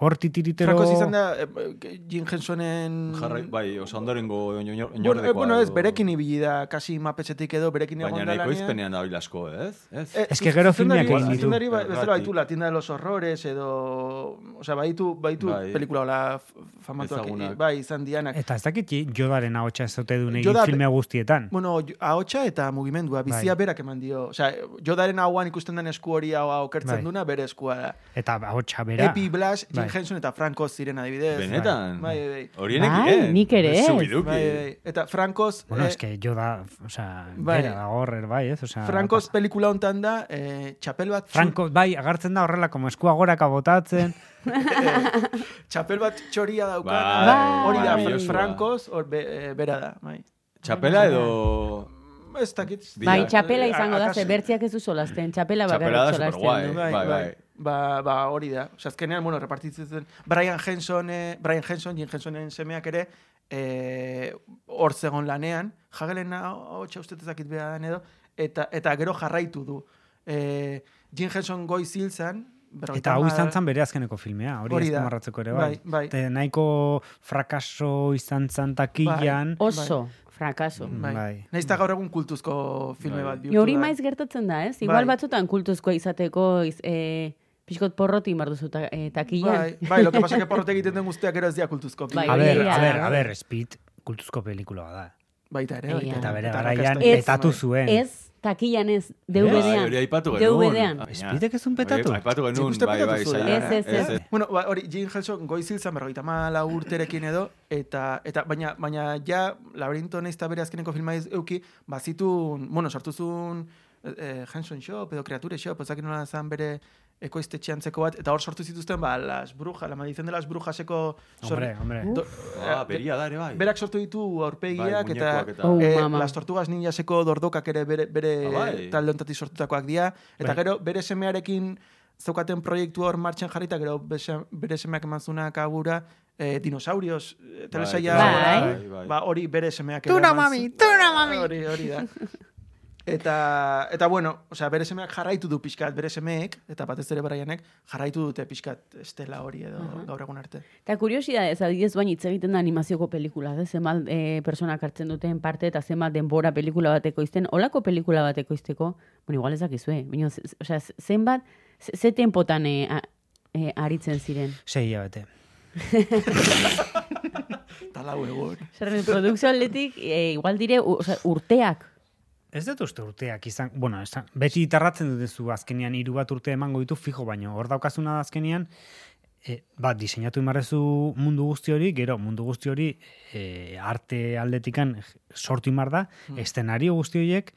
S4: hor titiritero
S5: Frankoz izan da, eh, Jim Hensonen...
S3: Jarrai, bai, osa ondorengo oinordekoa.
S5: Bueno, eh, bueno, ez, berekin ibili da, kasi mapetxetik edo, berekin egon
S3: Baina
S5: da lanean.
S3: ekoizpenean dabil asko, ez? Ez?
S5: Eh,
S4: Ez que gero
S5: zuzendari-
S4: filmeak egin ditu.
S5: Zuzendari ba- bezala
S3: Erratik.
S5: baitu la tienda de los horrores edo... Osea, baitu, baitu
S3: Bai.
S5: pelikula hola f- famatuak.
S3: Ezagunak.
S5: eh, Bai, izan dianak.
S4: eta ez dakit jodaren ahotsa ez ote duen egin
S5: Joda-
S4: filme guztietan.
S5: Bueno, jo- ahotsa eta mugimendua, bizia
S4: Bai.
S5: berak eman dio. Osea, jodaren hauan ikusten den esku hori hau okertzen
S4: Bai.
S5: duna, bere eskua da.
S4: Eta ahotsa bera.
S5: Epi Blas, Jim
S4: Bai.
S5: Henson eta Franco ziren adibidez.
S3: Benetan. eh?
S5: Bai, bai, bai.
S3: Horienek
S2: Bai, nik ere ez.
S3: Zubiduki.
S5: Bai, bai. Eta Francoz...
S4: Bueno,
S5: eh,
S4: es que yo da, o sea,
S5: Bai.
S4: bera da horrer, bai, ez? O sea,
S5: Francoz pelikula hontan da, eh, txapel bat... txu-
S4: Franco, bai, agartzen da horrela, como eskua goraka botatzen.
S5: Txapel eh, bat txoria dauka.
S3: Bai,
S5: Hori da,
S3: maravilloso.
S5: Francoz, hor be, eh, bera da. Bai.
S3: Txapela edo...
S5: Ez dakit. Eh,
S2: Bai,
S3: Bila-
S2: txapela izango da,
S5: Akaso-
S2: ze bertziak ez du solasten, txapela bakarrik
S3: Txapela da
S2: solasten
S3: superguai.
S2: du.
S5: Bai,
S3: Bai,
S5: bai.
S3: bai.
S5: Ba, ba, hori da. Osea, azkenean, bueno, repartitzen zen Brian Henson, eh, Brian Henson, Jim Hensonen semeak ere, eh, hor zegon lanean, jagelena, hau uste ez dakit behar den edo, eta, eta gero jarraitu du. Eh, Jim Henson goiz hil zen, berrogeita
S4: Eta hau
S5: hamar-
S4: izan zen bere azkeneko filmea, hori
S5: Hori da.
S4: azpimarratzeko ere, bai.
S5: Bai, bai.
S4: Te nahiko frakaso izan zen takillan.
S2: Oso, frakaso.
S5: Bai.
S4: Bai.
S5: Nahiz eta gaur egun kultuzko filme
S3: Bai.
S5: bat bihurtu
S2: Ni hori
S5: da.
S2: maiz gertatzen da, ez?
S5: Bai.
S2: Igual batzutan kultuzkoa izateko, iz, e, pixkot porroti marduzu ta, e, takilan.
S5: Bai, bai, lo que pasa que porrote egiten den guztiak gero ez dira kultuzko
S2: Bai.
S4: A ber,
S2: Egia
S4: a ber,
S2: da.
S4: a ber, Speed kultuzko pelikula da.
S5: Baita ere,
S2: Egia
S5: baita ere.
S4: Eta bere
S5: arrakasta
S4: garaian
S5: izan
S2: Ez.
S4: petatu
S5: bai.
S4: zuen.
S2: Ez, takilan ez,
S3: Bai, hori
S2: DVD-an.
S3: aipatu genuen.
S2: DVD-an.
S3: Baina-
S4: Speedek ez zuen petatu?
S3: Hori Aipatu
S5: Nik
S3: genuen,
S5: uste
S3: bai, bai.
S5: petatu zuela.
S3: zaila.
S2: Ez, ez, ez.
S5: Bueno, ba, hori, Jim Henson goiz hil zen berrogeita mala urterekin edo, eta, eta baina, baina ja, labirinto nahiz eta bere azkeneko filma ez euki, bazitun, bueno, sartu zuen eh, Henson Shop edo Creature Shop, ezakin nola zen bere ekoizte txantzeko bat, eta hor sortu zituzten, ba, Las Brujas, la maldición de Las Brujaseko... sor-
S4: Hombre, hombre.
S5: do-
S3: Ah,
S5: eh,
S3: beria da ere, bai.
S5: Berak sortu ditu aurpegiak
S3: Bai,
S5: eta,
S3: muñekoak eta-
S2: Oh,
S5: eh,
S2: mama.
S5: Las Tortugas Ninjaseko dordokak ere bere, bere
S3: Ah, bai.
S5: talde ontatik sortutakoak dira. Eta
S4: Bai.
S5: gero bere semearekin zeukaten proiektua hor martxan jarri eta gero bese- bere semeak eman zuna kabura eh, dinosaurios eh, telesaia
S2: bai,
S3: bai,
S5: hori-
S3: bai.
S5: ba, hori bere semeak tuna mami, tuna mami hori, hori da Eta, eta bueno, osea, bere semeak jarraitu du pixkat, bere semeek, eta batez ere baraianek, jarraitu dute pixkat estela hori edo gaur egun arte.
S2: Eta kuriosidadez, adidez baina hitz egiten da animazioko pelikula, ez zenbat e, personak hartzen duten parte eta zenbat denbora pelikula bateko izten, olako pelikula bateko izteko, bueno, igual ezakizue, baina, z- z- osea, z- zenbat, ze, ze tempotan e, a, e, aritzen ziren.
S4: Sei hilabete.
S5: Tala egun.
S2: Zerren, produkzio aldetik, e, igual dire, u, osea, urteak,
S4: Ez dut uste urteak izan, bueno, esan, beti itarratzen dut zu azkenean hiru bat urte emango ditu fijo, baino hor daukazuna da azkenean, e, bat, diseinatu imarrezu mundu guzti hori, gero mundu guzti hori e, arte aldetikan sortu imar da,
S5: Hmm.
S4: estenario guzti horiek,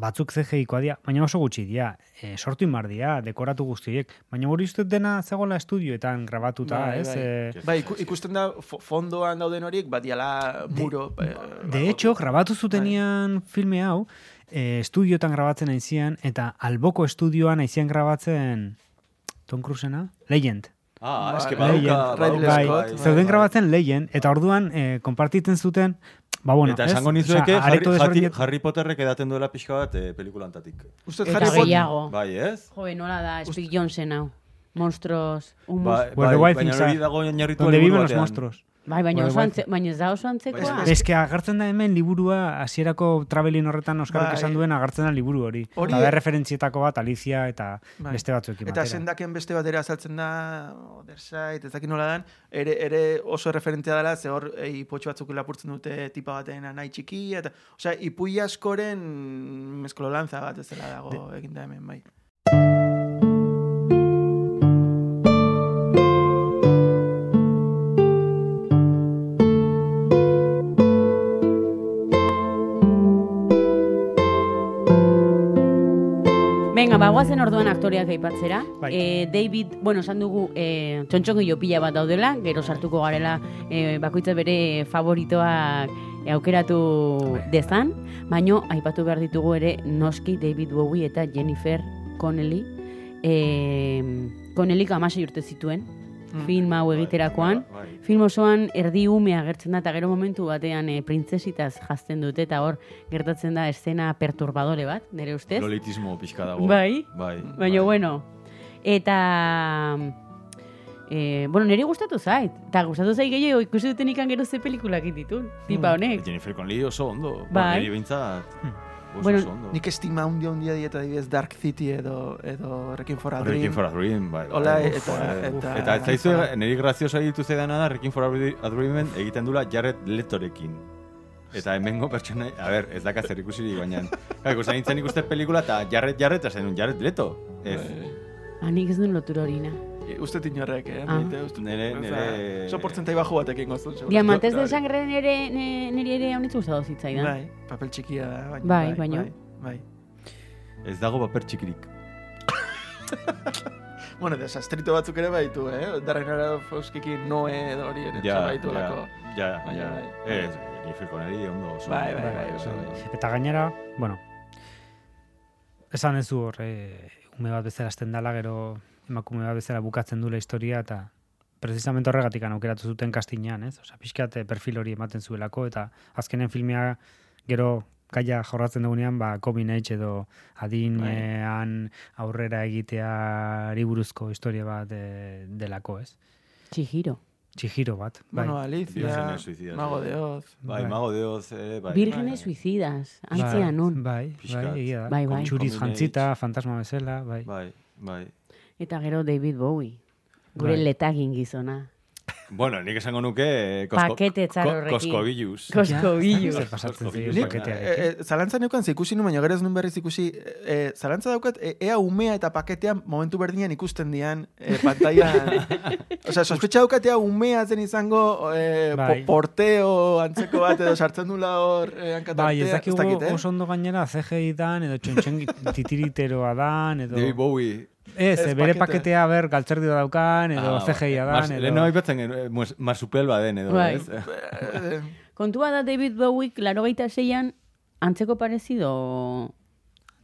S4: batzuk CGI-koa dira, baina oso gutxi dira, e, sortu imar dira, dekoratu guzti horiek, baina hori uste dut dena zegoela estudioetan grabatuta,
S5: Bai,
S4: ez?
S5: bai.
S4: E,
S5: Bai, iku- ikusten da fo- fondoan dauden horiek, bat diala muro. eh,
S3: Ba,
S4: De hecho,
S3: Bai.
S4: grabatu zutenian filme hau, eh, estudiotan grabatzen aizian, eta alboko estudioan aizian grabatzen Tom Cruisena? Legend.
S3: Ah, eske
S5: Bai,
S3: badauka...
S5: Ridley
S3: badauka-
S4: bai,
S5: Scott,
S3: bai,
S4: zeuden
S3: bai.
S4: grabatzen Legend, eta orduan eh, konpartitzen zuten, ba bueno,
S3: Eta
S4: ez?
S3: esango
S4: Osea,
S3: nizueke
S4: areto
S3: Harry, Harry,
S4: desberdinet-
S3: Harry Potterrek edaten duela pixka bat eh, pelikulantatik.
S5: Ustez
S2: eta gehiago.
S3: Bai, ez?
S2: Joe, nola da, Speak Johnson hau. Monstros, un
S3: Ba,
S2: monstru-
S4: Where the Wild
S3: baina
S4: Things
S3: hori
S4: Are.
S3: dago oinarritua
S4: Donde
S3: liburu
S4: viven los
S3: batean.
S4: monstruos.
S2: Bai, baina
S4: Bueno,
S2: oso,
S4: bai.
S2: antze, baina ez da oso antzekoa.
S5: Ah.
S3: Baina
S4: Eske agertzen da hemen liburua hasierako travelin horretan Oskarok
S5: Bai.
S4: esan duen agertzen da liburu hori.
S5: Hori-
S4: Eta da referentzietako bat Alicia eta
S5: Bai.
S4: beste batzuekin
S5: Eta
S4: batera.
S5: sendaken beste batera azaltzen da, Other Side, ezakit nola dan, ere, ere oso referentea dela, ze hor eh, ipotxo batzuk lapurtzen dute tipa baten nahi txiki, eta, osea, ipui askoren mezkololantza bat ez dela dago egin da hemen, bai.
S2: Venga, bagoazen orduan aktoreak aipatzera.
S4: Bai.
S2: Eh, David, bueno, esan dugu eh, txontxongillo pila bat daudela, gero sartuko garela eh, bakoitza bere favoritoak eh, aukeratu
S3: Bai.
S2: dezan, baino aipatu behar ditugu ere noski David Bowie eta Jennifer Connelly. Eh, Connelly amasei urte zituen,
S5: Mm.
S2: film hau egiterakoan.
S3: Bai, bai.
S2: Film osoan erdi ume agertzen da eta gero momentu batean eh, printzesitaz jazten dute eta hor gertatzen da escena perturbadore bat, nire ustez.
S3: Lolitismo pixka dago.
S2: Bai.
S3: Bai.
S2: Baina,
S3: bai.
S2: bueno. Eta... Eh, bueno, niri gustatu zait. Eta gustatu zait gehiago ikusi duten ikan gero ze pelikulak ditun. Tipa
S3: Hmm.
S2: honek.
S3: Jennifer Connelly oso
S2: Bai.
S3: ondo.
S2: Hmm.
S3: Bai. Niri behintzat oso,
S2: Bueno,
S3: oso ondo.
S5: Nik estima hundia hundia dieta dibidez Dark City edo, edo Rekin for a Dream.
S3: Requiem for a Dream, bai. bai.
S5: Hola,
S3: Uf,
S5: eta-
S3: bai.
S5: eta-
S3: Eta ez zaizu, niri graziosa ditu zaidana da, Requiem for a Dreamen egiten dula Jared Letorekin. Eta hemengo pertsona, a ber, ez daka zer ikusirik, baina. Kako, zain
S5: Bai.
S3: nintzen ikusten pelikula, eta Jared, Jared, eta zain Jared Leto. Ez.
S2: Ah, nik ez duen lotura horina.
S5: I- Uste tinorrek, eh?
S2: Ah.
S5: Nire, uste,
S3: Nere-
S5: Oza,
S3: nere-
S5: Oso portzentai bajo batekin goztun. seguro.
S2: Diamantes
S5: Jo,
S2: de sangre nire, ne- niri ere haunitz gustatu zitzaidan.
S5: Bai, papel txikia da. Baina,
S2: Bai, baino.
S5: Bai,
S3: Ez dago paper txikirik.
S5: bai. Bueno, desastrito batzuk ere baitu, eh? Darren Arauzkikin noe edo hori ere
S3: Ja,
S5: baitu
S3: ja,
S5: lako.
S3: ja,
S5: Baina,
S3: ja.
S5: bai.
S3: Ez, nifiko nari ondo oso.
S5: Bai, bai,
S4: bai,
S5: oso ondo.
S4: Eta gainera, bueno, esan ez du hor, eh, ume bat bezala hasten dala, gero emakume bat bezala bukatzen dula historia, eta precisamente horregatik aukeratu zuten kastinean, ez? Osa, pixkat eh, perfil hori ematen zuelako, eta azkenen filmea gero gaia jorratzen dugunean, ba, covid edo adinean aurrera egiteari buruzko historia bat eh, delako, ez?
S2: Chihiro.
S4: Txihiro bat, bai.
S5: Bueno, Alicia,
S3: Virgenes suicidas,
S5: Mago
S3: bai.
S5: de Oz.
S3: Bai,
S4: Bai.
S3: mago deoz, ere, bai.
S2: Vírgenes
S3: bai.
S2: suicidas.
S4: Bai,
S2: Antzean nun.
S4: Bai, bai,
S3: Pixkat.
S4: egia da.
S2: Bai, bai.
S4: Txuriz
S3: Combinate.
S4: jantzita, fantasma bezala, bai.
S3: Bai, bai.
S2: Eta gero David Bowie. Gure
S4: Bai.
S2: letagin gizona.
S3: Bueno, nik esango nuke... eh, kosko-
S2: Pakete txar
S3: ko-
S2: horrekin.
S3: Koskobiluz.
S2: Kosko bilu.
S4: Zer pasatzen zaio
S3: Nik-
S4: paketearekin.
S5: E, e, zalantza neukan ze ikusi nuen, baina gero ez nuen berriz ikusi. E, e, zalantza daukat, e, ea umea eta paketean momentu berdinean ikusten dian e, pantailan. Osea, sospetxa daukat ea umea zen izango e, po-
S4: Bai.
S5: porteo antzeko bat edo sartzen dula hor e, hankatartea.
S4: Bai, ez dakigu
S5: dakit, eh?
S4: oso ondo gainera CGI dan, edo txontxen titiriteroa dan, edo...
S3: David Bowie.
S4: Ez,
S5: Ez,
S4: eh, bere
S5: pakete.
S4: paketea ber galtzerdi daukan, edo
S3: Ah,
S4: CGI
S3: bai. Mas-
S4: dan, edo...
S3: Lehen hori batzen genuen, eh, mus- marsupial baden, edo,
S2: Bai.
S3: ez?
S5: Eh,
S2: Kontua da David Bowie, laro gaita seian, antzeko parezido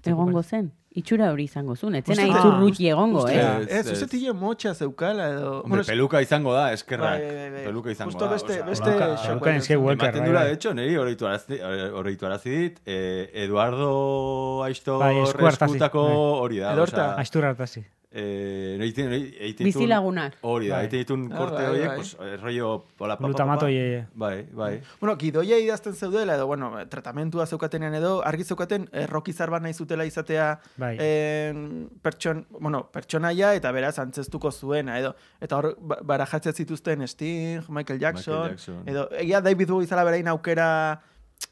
S2: egongo zen. Itxura hori izango zuen. Etzena
S5: Uste-
S2: itzurruti egongo,
S5: uste-
S2: eh?
S3: Ez,
S5: Ez,
S3: ez.
S5: uste tile motxa zeukala edo...
S3: Hombre, peluka izango da, eskerrak.
S5: Bai, bai, bai.
S3: Peluka izango
S5: Justo este,
S3: da.
S5: beste-
S3: osea,
S5: beste
S3: peluka-
S5: shock
S4: Daukan eske Walker,
S3: Ematen
S4: bai,
S3: dura,
S4: bai.
S3: de hecho, niri horreituarazi horreituarazi dit, eh, Eduardo Aiztor
S4: Bai, esku hartazi.
S3: eskutako
S4: Bai.
S3: hori da.
S5: Edorta.
S3: osea,
S4: Aiztura hartazi.
S3: eh, egiten- egiten ditun-
S2: Bizilagunak.
S3: Hori da,
S4: Bai.
S3: egiten ditun
S5: Ah,
S3: korte
S5: bai,
S3: horiek,
S5: bai. eh.
S3: pues, eh, rollo... hola, pa, pa, pa,
S4: Glutamato
S3: pa.
S4: ie-
S3: Bai, bai.
S5: Bueno, gidoia idazten zeudela, edo, bueno, tratamentua zeukatenean edo, argi zeukaten, eh, erroki zarba nahi zutela izatea
S4: Bai.
S5: em, pertson, bueno, pertsonaia eta beraz antzestuko zuena, edo. Eta hor, ba- barajatzen zituzten Sting, Michael Jackson,
S3: Michael Jackson.
S5: edo, egia David Bowie zala berain aukera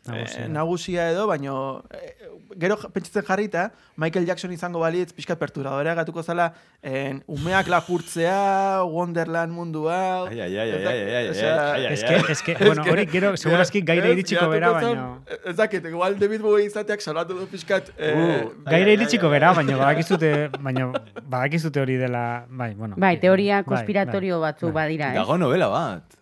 S4: Nagusia.
S5: eh, nagusia edo, baino eh, gero ja- pentsatzen jarrita, Michael Jackson izango balitz pixka perturadora gatuko zala en, umeak lapurtzea, Wonderland mundua...
S3: Ai, ai, ai, ai, ai, ai, ai,
S5: Osea,
S3: ai, ai,
S4: Ez
S3: ai,
S4: que,
S3: ai.
S4: ez que, bueno, hori gero, segurazki gaire
S5: Ez,
S4: iritsiko bera,
S5: geratuko
S4: baina...
S5: zen, Ez dakit, igual David Bowie izateak salatu du pixkat... eh,
S4: Uh, Gaire iritsiko bera, baina badakizute, baina badakizute hori dela, bai, bueno.
S2: Bai, teoria
S4: Bai, bai.
S2: konspiratorio batzuk badira, eh?
S3: Dago novela bat.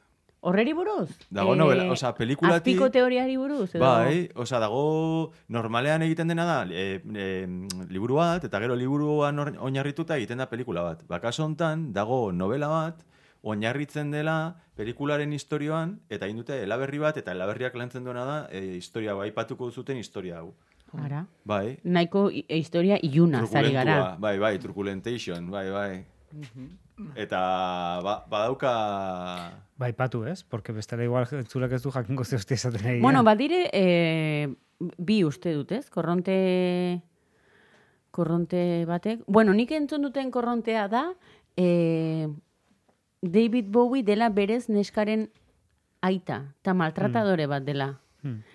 S2: Horreri buruz? Eh,
S3: Dago novela, osea, pelikulatik-
S2: Azpiko teoriari buruz, edo?
S3: Bai, osea, dago normalean egiten dena da e, e, liburu bat, eta gero liburuan or- oinarrituta egiten da pelikula bat. Bakaso hontan dago novela bat, oinarritzen dela pelikularen historioan, eta egin dute elaberri bat, eta elaberriak lantzen duena da e, historia, bai, patuko zuten historia hau.
S2: Ara.
S3: Bai,
S2: Nahiko i- e, historia iluna, zari gara.
S3: Trukulentua, bai, bai, trukulentation, bai, bai. Eta ba, badauka...
S4: Bai, patu, ez? Porque bestela igual entzulak ez du jakingo ze hostia esaten ari.
S2: Bueno,
S4: diren.
S2: badire, eh, bi uste dut, ez? Korronte, korronte batek. Bueno, nik entzun duten korrontea da, eh, David Bowie dela berez neskaren aita, eta maltratadore bat dela.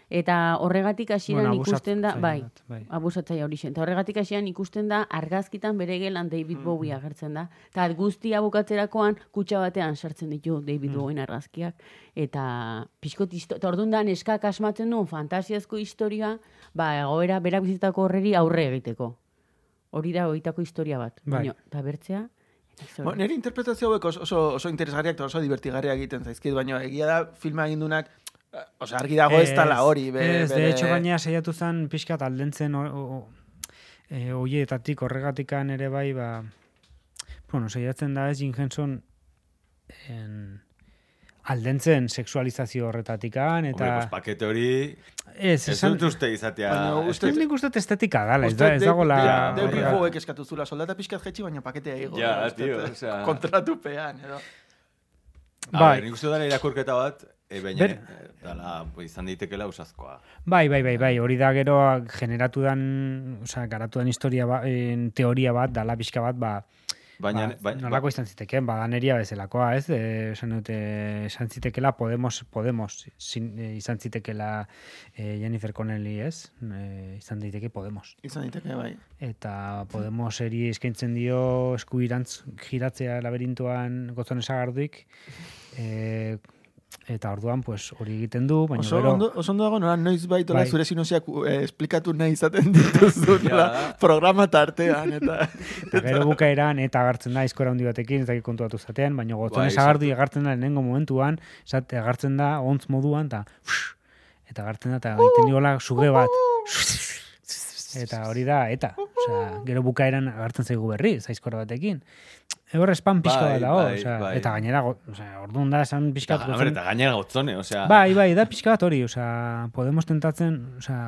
S2: Eta horregatik hasieran
S4: Hmm. Bueno,
S2: ikusten da, bai,
S4: abusatzaile bat, bai.
S2: abusatzaile hori zen. Eta horregatik hasian ikusten da argazkitan bere gelan David
S4: Hmm,
S2: Bowie agertzen da. Eta guztia bukatzerakoan kutxa batean sartzen ditu
S4: Hmm.
S2: David Bowen argazkiak. Eta pixkot, histo- eta orduan da neskak asmatzen duen fantasiazko historia, ba, egoera berak bizitako horreri aurre egiteko. Hori da hoitako historia bat.
S4: Bai.
S2: Baina, eta bertzea, eta
S3: Bai.
S2: zor-
S5: Bo, nire interpretazio hauek oso, oso, oso interesgarriak eta oso divertigarriak egiten zaizkit, baina egia da filma egin dunak, eh, osea, argi dago ez tala hori. Be,
S4: ez, de
S5: bere-
S4: hecho, gainea saiatu zen pixka aldentzen o, o, e, oietatik horregatikan ere bai, ba, bueno, saiatzen da ez Jim Henson en, aldentzen sexualizazio horretatikan,
S3: Hombre,
S4: eta...
S3: pues, pakete hori...
S4: ez,
S3: Ez
S4: esan...
S3: dut uste izatea...
S5: Baina
S3: ez dut-
S5: uste-
S4: Nik uste dut estetika dala, ez,
S5: Uste,
S4: da, ez
S5: Dave-
S4: dagoela...
S5: Dave- David
S4: horrega-
S5: Bowiek eskatu zula soldata pixkat jetxi, baina paketea igo.
S3: Ja,
S5: uste,
S3: tio,
S5: eh,
S3: osea.
S5: Kontratupean, edo.
S3: Bai.
S4: Bai.
S3: ber, nik uste dara irakurketa bat, e, baina
S4: Ber-
S3: eh, dala, pues, izan daitekela usazkoa.
S4: Bai, bai, bai, bai, hori da gero generatu dan, osea, garatu dan historia ba, en, teoria bat, dala pixka bat, ba,
S3: Baina,
S4: ba,
S3: bai-
S4: nolako izan zitekeen, badaneria bezalakoa, ez? Eh, esan dute, esan zitekela Podemos, Podemos zin- eh, izan zitekela eh, Jennifer Connelly, ez? Eh, izan daiteke Podemos.
S5: Izan diteke, bai.
S4: Eta Podemos eri eskaintzen dio eskuirantz giratzea laberintuan gozon esagarduik. Eh, eta orduan, pues, hori egiten du, baina
S5: Oso
S4: gero...
S5: ondo, oso ondo dago nola noiz baitola
S4: Bai.
S5: zure sinusiak eh, esplikatu nahi izaten dituzula
S3: Ja.
S5: programa tartean eta
S4: Eta gero bukaeran eta agartzen da izkora handi batekin, ez dakit kontuatu zatean, baina gotzen
S3: Bai,
S4: ez agardu agartzen da lehenengo momentuan, esate agartzen da ontz moduan, eta fush, eta agartzen da, eta egiten diola suge bat. Eta hori da, eta. Osea, gero bukaeran agartzen zaigu berri, zaizkora batekin. Hor espan pixka
S3: Bai,
S4: bat dago,
S3: bai,
S4: osea,
S3: bai.
S4: eta gainera, go- osea, orduan da, esan pixka
S3: Eta,
S4: bat
S3: hombre,
S4: gotzen-
S3: eta gainera gotzone, osea.
S4: Bai, bai, da pixka bat hori, osea, Podemos tentatzen, osea,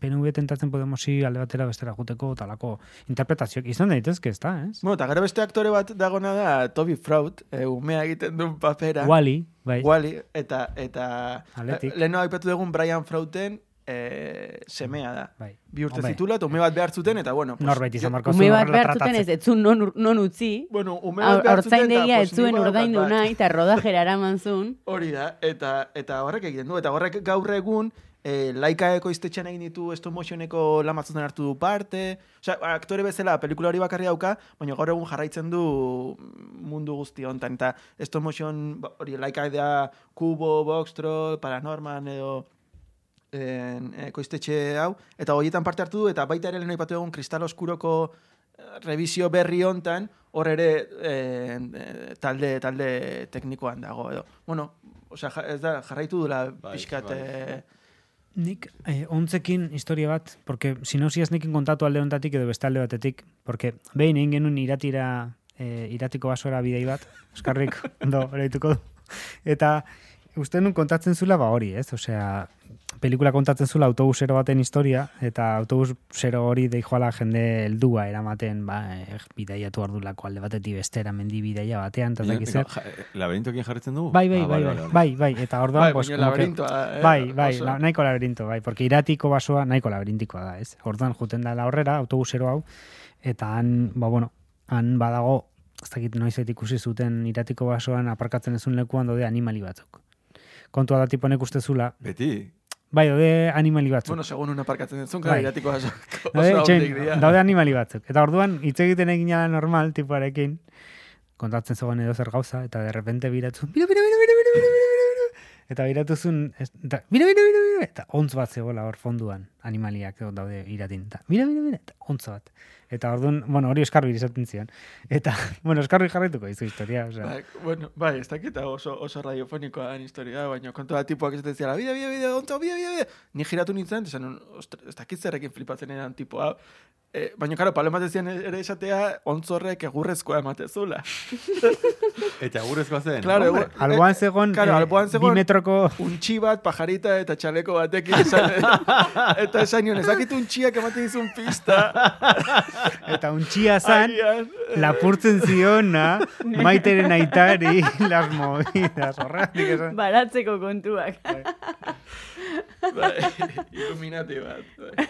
S4: PNV tentatzen Podemosi alde batera bestera juteko, talako interpretazioak izan daitezke, ez da, ez?
S5: Bueno, eta gero beste aktore bat dagona da Toby Fraud, eh, umea egiten duen papera.
S4: Wally, bai.
S5: Wally, eta, eta
S4: Atletik.
S5: eh, lehenu aipatu dugun Brian Frauten eh, semea da.
S4: Bai.
S5: Bi urte
S4: Hombre.
S5: zitula, eta ume bat behar zuten, eta bueno. Pues,
S4: Norbait izan barko
S2: Ume bat behar zuten ez, etzun non, ur- non utzi.
S5: Bueno, ume bat behar zuten, eta,
S2: Hortzaindegia
S5: pues,
S2: ez zuen
S5: nik badaukat
S2: ordaindu
S5: bat.
S2: nahi, eta rodajera eraman zuen.
S5: Hori da, eta, eta horrek egiten du. Eta horrek gaur egun eh, laikaeko iztetxean egin ditu stop motioneko lamatzen hartu du parte. Osea, aktore bezala pelikula hori bakarri dauka, baina gaur egun jarraitzen du mundu guzti hontan. Eta stop motion ba, hori laika da kubo, boxtro, paranorman edo en, eh, koiztetxe hau, eta horietan parte hartu du, eta baita ere lehenu aipatu egun kristal oskuroko eh, revisio berri hontan, hor ere eh, eh, talde, talde teknikoan dago, edo. Bueno, osea, ja- ez da, jarraitu dula
S3: Bai,
S5: pixkat...
S3: bai.
S5: eh,
S4: Nik eh, ontzekin historia bat, porque sinausiaz nekin kontatu alde honetatik edo beste alde batetik, porque behin egin genuen iratira, eh, iratiko basora bidei bat, Oskarrik, do, horretuko du. Eta uste nun kontatzen zula ba hori, ez? Osea, pelikula kontatzen zula autobusero baten historia, eta autobusero hori deijoala jende heldua eramaten, ba, eh, bidaiatu ardulako alde batetik bestera mendi bidaia
S3: eh,
S4: batean, eta ez dakit zer.
S3: Laberintokien jarritzen dugu?
S4: Bai, bai,
S3: Ah,
S4: bai,
S3: vale,
S4: bai,
S3: vale,
S4: bai, bai, eta orduan,
S5: Bai,
S4: pues,
S5: baina
S4: como que-
S5: laberintoa da, eh,
S4: bai, bai,
S5: oso.
S4: la, nahiko laberinto, bai, porque iratiko basoa nahiko laberintikoa da, ez? Orduan, juten da aurrera, autobusero hau, eta han, ba, bueno, han badago, ez dakit noizet ikusi zuten iratiko basoan aparkatzen ezun lekuan daude animali batzuk. Kontua da tiponek ustezula,
S3: Beti.
S4: bai, daude animali batzuk.
S5: Bueno, segun una parkatzen duzun, gara
S4: Bai.
S5: iratiko oso, oso
S4: daude,
S5: handik
S4: itxoin-
S5: dira.
S4: Bai, daude animali batzuk. Eta orduan, hitz egiten egin ala normal, tipoarekin, kontatzen zegoen edo zer gauza, eta de repente biratu, bira, bira, bira, bira, bira, bira, bira, bira, eta biratu zuen, ez- eta bira, bira, bira, bira, eta ontz bat zegoela hor fonduan, animaliak egon daude iratin, eta bira, bira, bira, eta ontz bat. Eta orduan, bueno, hori oskarbi izaten zion. Eta, bueno, oskarbi jarraituko dizu historia, osea.
S5: Bai, bueno, bai, ez dakit hau oso, oso radiofonikoa den historia, baina kontua da tipoak ez dezia, bide, bide, bide, ontza, bide, bide, bide. Ni giratu nintzen, esan, nun, "Ostra, ez dakit zerrekin flipatzen eran tipoa. Eh, baina, karo, palo ematezian ere esatea, ontzorrek egurrezkoa ematezula.
S3: Eta gurezkoa zen.
S5: Claro,
S3: Hombre,
S5: egur-
S4: Alboan
S5: eh,
S4: zegon,
S5: claro,
S4: eh,
S5: alboan
S4: bi
S5: zegon-
S4: metroko...
S5: untxi bat, pajarita eta txaleko batekin esan, eta esan nion, ez dakit untxiak ematen dizun pista.
S4: Eta untxia zan,
S5: Agian.
S4: lapurtzen ziona, maiteren aitari, las movidas, horregatik esan.
S5: Ba,
S2: Baratzeko kontuak.
S5: Bai, iluminati bat. Bai.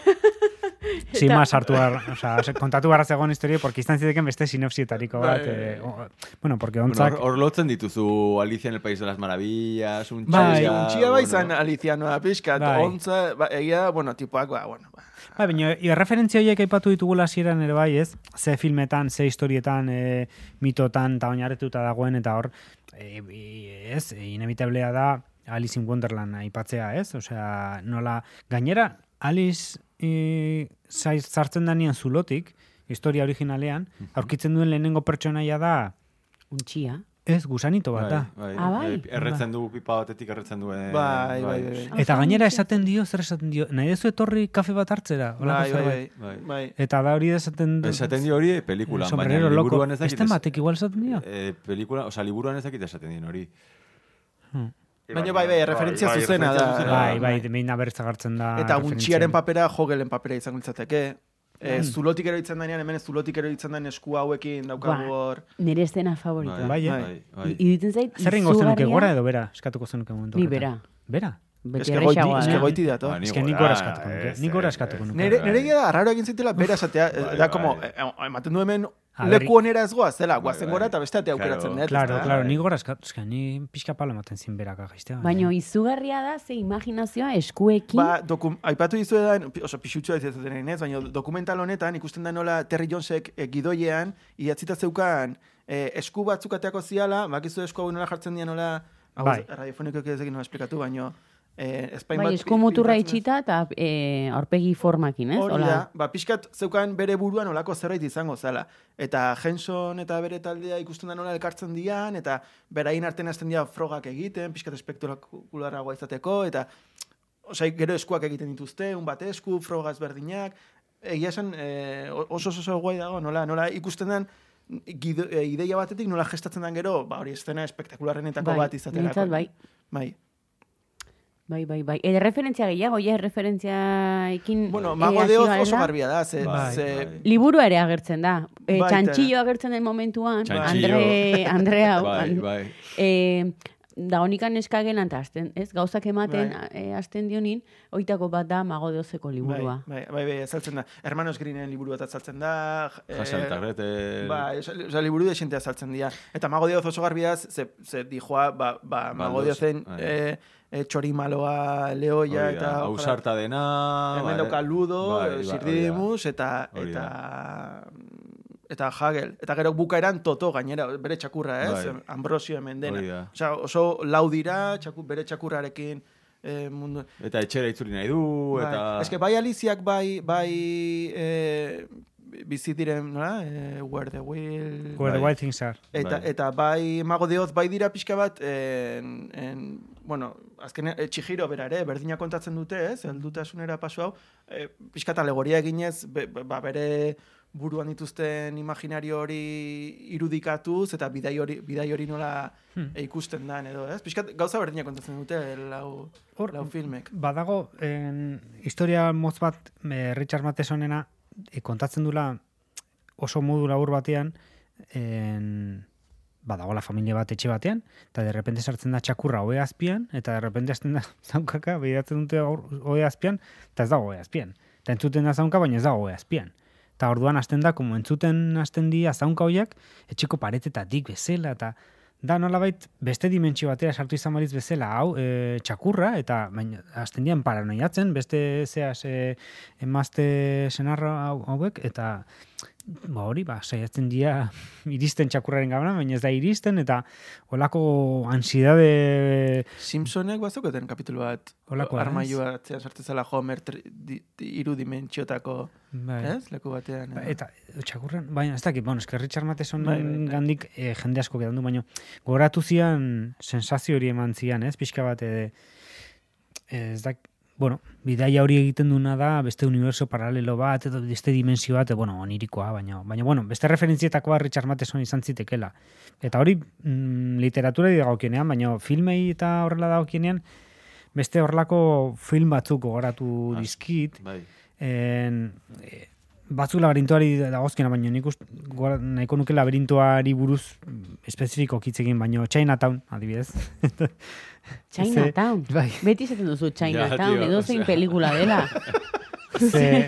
S4: Sin más hartu behar, o sea, se- kontatu behar zegoen historia, porque izan ziteken beste sinopsietariko bat.
S5: Bai.
S4: eh, o- bueno, porque
S3: Bueno,
S4: ontzak...
S3: hor- hor lotzen dituzu Alicia en el País de las Maravillas, un
S4: Bai.
S5: Bai,
S3: txia,
S5: untxia bai
S3: bueno.
S5: zan alizianoa pixka,
S4: Bai.
S5: ontza, ba, egia, bueno, tipoak, ba, bueno, ba.
S4: Ba, baina, i- referentzia horiek aipatu ditugula hasieran ere bai, ez? Ze filmetan, ze historietan, e, mitotan, eta oinarretuta dagoen, eta hor, e, bi- ez, inevitablea da Alice in Wonderland aipatzea, ez? Osea, nola, gainera, Alice e, zai- sartzen danean zulotik, historia originalean,
S5: Mhm.
S4: aurkitzen duen lehenengo pertsonaia da,
S2: Untxia.
S4: ez, gusanito bat da.
S3: Bai,
S2: Ah, bai.
S3: Erretzen du, pipa batetik erretzen duen.
S5: Bai, bai, bai, bai.
S4: Eta gainera esaten dio, zer esaten dio, nahi dezu etorri kafe bat hartzera?
S5: Bai,
S4: Holako
S5: bai,
S4: zerbait.
S5: bai. bai. bai.
S4: Eta da hori esaten du.
S3: Esaten dio hori eh, pelikulan, baina
S4: Sombrero loko.
S3: liburuan ez dakit.
S4: Este batek igual esaten dio.
S3: Eh, pelikula, osea, liburuan ez dakit esaten dien hori.
S5: Baina bai, bai, referentzia zuzena da.
S4: Hmm.
S3: eh,
S4: Bai, bai, behin abertza gartzen da.
S5: Eta guntxiaren
S4: referentzia.
S5: papera jogelen papera izango litzateke. Eh,
S4: Hmm.
S5: zulotik eroitzen denean, hemen zulotik eroitzen den esku hauekin daukagu
S2: Ba,
S5: hor.
S2: Nire estena favoritoa.
S4: Bai, eh?
S3: bai, bai.
S2: Iruditzen zait,
S4: Zer ingo zenuke,
S2: izugarria-
S4: gora edo bera? Eskatuko zenuke momentu.
S2: Ni
S4: horretan. Bera?
S2: Beti
S5: Eske goiti,
S2: errexagoa,
S5: eske
S2: eh?
S5: Bai, goiti dato.
S3: Ba, ni
S4: Ez que nik
S3: gora,
S4: gora eskatuko nuke.
S3: ez,
S4: Nik gora
S3: ez,
S4: eskatuko
S3: ez.
S4: nuke.
S5: Nire, nire egia da, arraro egin zitela bera esatea,
S3: Bai,
S5: da
S3: bai.
S5: como, eh, ematen du hemen
S4: Aber-
S5: leku onera ez goaz, zela, guazen
S3: bai.
S5: gora eta beste atea aukeratzen
S3: Claro.
S5: dut.
S4: Ah, Claro,
S5: ezta?
S4: claro, ni gora eskat, eska, ni pixka palo ematen zin beraka jaistea.
S2: Baina izugarria da ze imaginazioa eskuekin.
S5: Ba, dokum, aipatu dizuedan, pi- oso pixutxoa ez ez ez, baina dokumental honetan ikusten da nola Terry Jonesek eh, gidoiean idatzita zeukan eh, esku batzuk ateako ziala, bakizu esku hau nola jartzen dira nola, hau
S4: Bai.
S5: radiofonikoak ez dakit nola esplikatu, baina eh, espain
S2: bai,
S5: bat
S2: esku muturra itxita eta eh, aurpegi formakin, ez?
S5: Hori
S2: Hola.
S5: da, ba, pixkat zeukan bere buruan olako zerbait izango zala. Eta Henson eta bere taldea ikusten da nola elkartzen dian, eta berain artean hasten dira frogak egiten, pixkat espektakularragoa izateko, eta osea, gero eskuak egiten dituzte, un bat esku, frogaz berdinak, egia esan eh, oso oso oso guai dago, nola, nola ikusten den gido- eh, ideia batetik nola gestatzen den gero, ba, hori estena espektakularrenetako
S2: Bai,
S5: bat izaterako.
S2: behintzat bai.
S5: Bai.
S2: Bai, bai, bai. Ede referentzia gehiago, ja, referentziaekin...
S5: Bueno,
S2: eh,
S5: mago
S2: hasi
S5: de Oz
S2: garela.
S5: oso garbia da, ze,
S3: Bai,
S5: ze
S3: bai.
S2: Liburua ere agertzen da. E,
S5: Baita. eh?
S2: txantxillo agertzen den momentuan,
S3: Txantxillo.
S2: Andre, Andrea,
S3: Bai,
S2: an-
S3: bai.
S2: Eh, da honikan eskagenan eta azten, ez? Gauzak ematen,
S5: Bai.
S2: eh, azten dionin, oitako bat da mago de Ozeko liburua.
S5: Bai, bai, bai, bai, azaltzen da. Hermanos Greenen liburu bat azaltzen da. eh,
S3: Hasan Tarrete.
S5: Bai, oza, liburu desentea azaltzen dira. Eta Mago Dioz oso garbi da, ze, ze dijoa, ba, ba Mago
S3: Balduz,
S5: Diozen
S3: bai.
S5: eh, eh, txorimaloa leoia
S3: Hori da,
S5: eta...
S3: ausarta dena...
S5: Hemen
S3: bai,
S5: dauka ludo,
S3: bai, bai, hori
S5: sirdimus, eta...
S3: Hori
S5: eta
S3: da.
S5: eta Hagel. Eta gero bukaeran Toto gainera, bere txakurra,
S3: Bai.
S5: ez? Ambrosio hemen
S3: Hori
S5: dena.
S3: da.
S5: Osa, oso lau dira, txaku, bere txakurrarekin eh, mundu...
S3: da. Eta etxera itzuli nahi du,
S5: Bai.
S3: eta...
S5: Ez que bai Aliziak bai, bai eh, bizi diren, nola? Eh, where the will...
S4: Where the
S3: Bai.
S4: wild things are.
S5: Eta,
S3: Bai.
S5: eta bai mago deoz, bai dira pixka bat, en, en, bueno, azken e, txijiro bera ere, berdina kontatzen dute, ez? Heldutasunera paso hau, e, pixka eta alegoria eginez, be, be- ba, bere buruan dituzten imaginario hori irudikatuz, eta bidai hori, bidai hori nola
S4: Hmm.
S5: e, ikusten dan, edo, ez? Pixka gauza berdina kontatzen dute, lau,
S4: Hor-
S5: lau filmek.
S4: Badago, en, historia moz bat eh, Richard Mathesonena eh, kontatzen dula oso modu labur batean en, badago la familia bat etxe batean eta derrepente sartzen da txakurra ohe azpian eta derrepente hasten da zaunkaka begiratzen dute aur- ohe azpian eta ez dago ohe azpian eta entzuten da zaunka baina ez dago ohe azpian eta orduan hasten da como entzuten hasten dira zaunka hoiak etxeko paretetatik bezala eta da nolabait beste dimentsio batera sartu izan baliz bezala hau e, txakurra eta baina hasten dian paranoiatzen beste zeas e, emazte senarra hau, hauek eta ba hori ba saiatzen dira iristen txakurraren gabana baina ez da iristen eta olako ansiedade
S5: Simpsonek bazoketen kapitulu bat.
S4: Holakoa, ez?
S5: Armailua atzean sartezala Homer tri, di, di, iru dimentsiotako,
S4: bai.
S5: ez? Leku batean.
S4: Ba,
S5: edo.
S4: Eta txakurren, baina ez dakit, bueno, esker Richard Matheson
S5: Bai, bai, bai.
S4: gandik eh, jende asko gedan du, baina goratu zian sensazio hori eman zian, ez, pixka bat, eh, ez dak, bueno, bidaia hori egiten duna da, beste universo paralelo bat, edo beste dimensio bat, eh, bueno, onirikoa, baina, baina, bueno, beste referentzietakoa Richard Matheson izan zitekela. Eta hori mm, literatura dagokienean, baina filmei eta horrela dagokienean, beste horrelako film batzuk goratu
S3: Ah,
S4: dizkit,
S3: Bai.
S4: en, e, batzuk labirintoari dagozkena, baino nik ust, gora- nahiko nuke labirintoari buruz mm, espezifiko kitzekin, baino Chinatown, adibidez.
S2: Chinatown.
S4: Ze- bai.
S2: Beti esaten duzu Chinatown,
S3: tio,
S2: edo zein
S3: osea.
S2: pelikula dela.
S4: Ze,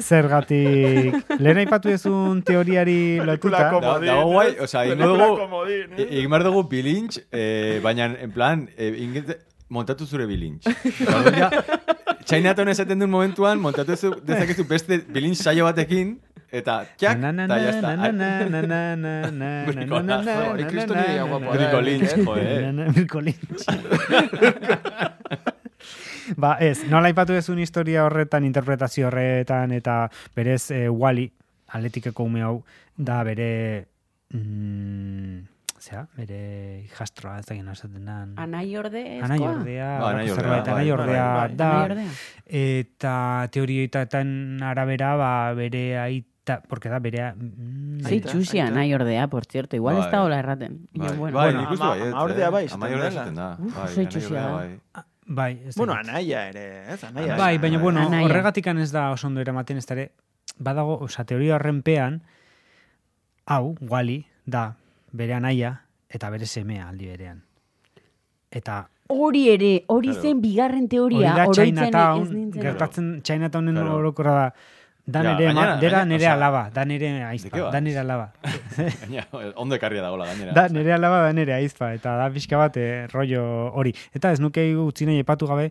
S4: zergatik, lehen aipatu dezun teoriari lotuta.
S3: Da,
S5: Pelikulako Komodin,
S3: dago guai,
S5: ez?
S3: osea, ingo
S5: Pelikula
S3: dugu,
S5: komodin, ez?
S3: e- egin behar dugu bilintx, eh, baina, en plan, eh, ingete- montatu zure bilintx. Eta orduan ja, Chinatown esaten duen momentuan, montatu zu- dezakezu beste bilintx saio batekin, eta txak,
S4: Na, na,
S3: eta Bai,
S4: na,
S3: jazta.
S4: na, na, na, na, na, na, na, na,
S3: Bricolazo,
S4: na, na,
S5: hori
S3: bai,
S4: na,
S5: kristo
S4: na,
S5: nire
S4: na,
S5: guapoa
S4: na,
S5: da,
S4: na,
S5: Bricolintz,
S4: na,
S3: Eh, joder.
S4: na, na, Bricolintz. ba, ez, nola aipatu dezun historia horretan, interpretazio horretan, eta berez eh, Wally, atletikeko ume hau, da bere... Mm, zera, bere jastroa, ez dakien esaten den.
S2: Anai orde
S4: Anai
S2: ezkoa?
S4: ordea,
S3: Ba, anai
S4: anai
S3: ordea,
S4: ordea,
S3: bai,
S4: anai ordea
S5: bai, bai.
S4: da.
S2: Anai ordea.
S4: Eta teorioetatan arabera, ba, bere aita, porque da bere... Mm,
S2: Zei
S5: Aita,
S2: txusia
S5: aita.
S2: anai ordea, por cierto. Igual ez
S3: Bai.
S2: da hola erraten. Baina,
S3: Bai,
S2: bueno,
S3: bai,
S2: bueno,
S3: nik uste
S5: ama-
S3: baietz,
S5: amaordea
S3: eh.
S5: bai esaten
S3: Amaiordea
S5: dela.
S3: esaten da.
S2: Uf, oso
S3: Bai, anaiordea
S2: itxusia da.
S3: bai.
S4: Bai, ez
S5: Bueno,
S4: dakit.
S5: anaia ere, ez? Anaia.
S4: Bai,
S3: Anaia,
S4: baina,
S3: anaia.
S4: bueno,
S2: Anaia.
S4: horregatikan ez da oso ondo eramaten ez da ere, badago, oza, teoria horrenpean, hau, Wally, da, bere anaia, eta bere semea aldi berean. Eta
S2: Hori ere, hori
S3: Claro.
S2: zen bigarren
S4: hori
S2: teoria.
S4: da
S2: oroitzen ez
S4: Chinatown,
S2: nintzen.
S4: gertatzen Chinatownen
S3: Claro.
S4: orokorra da, Da
S3: Ja,
S4: nire,
S3: gainera-
S4: ma- dera
S3: gainera,
S4: nire
S3: osea,
S4: alaba, da nire
S3: ¿de qué
S4: aizpa,
S3: vas?
S4: da nire alaba.
S3: Gaina, ondo ekarria dagoela gainera.
S4: da nire alaba, da nire aizpa, eta da pixka bat eh, rollo hori. Eta ez nuke utzi nahi epatu gabe,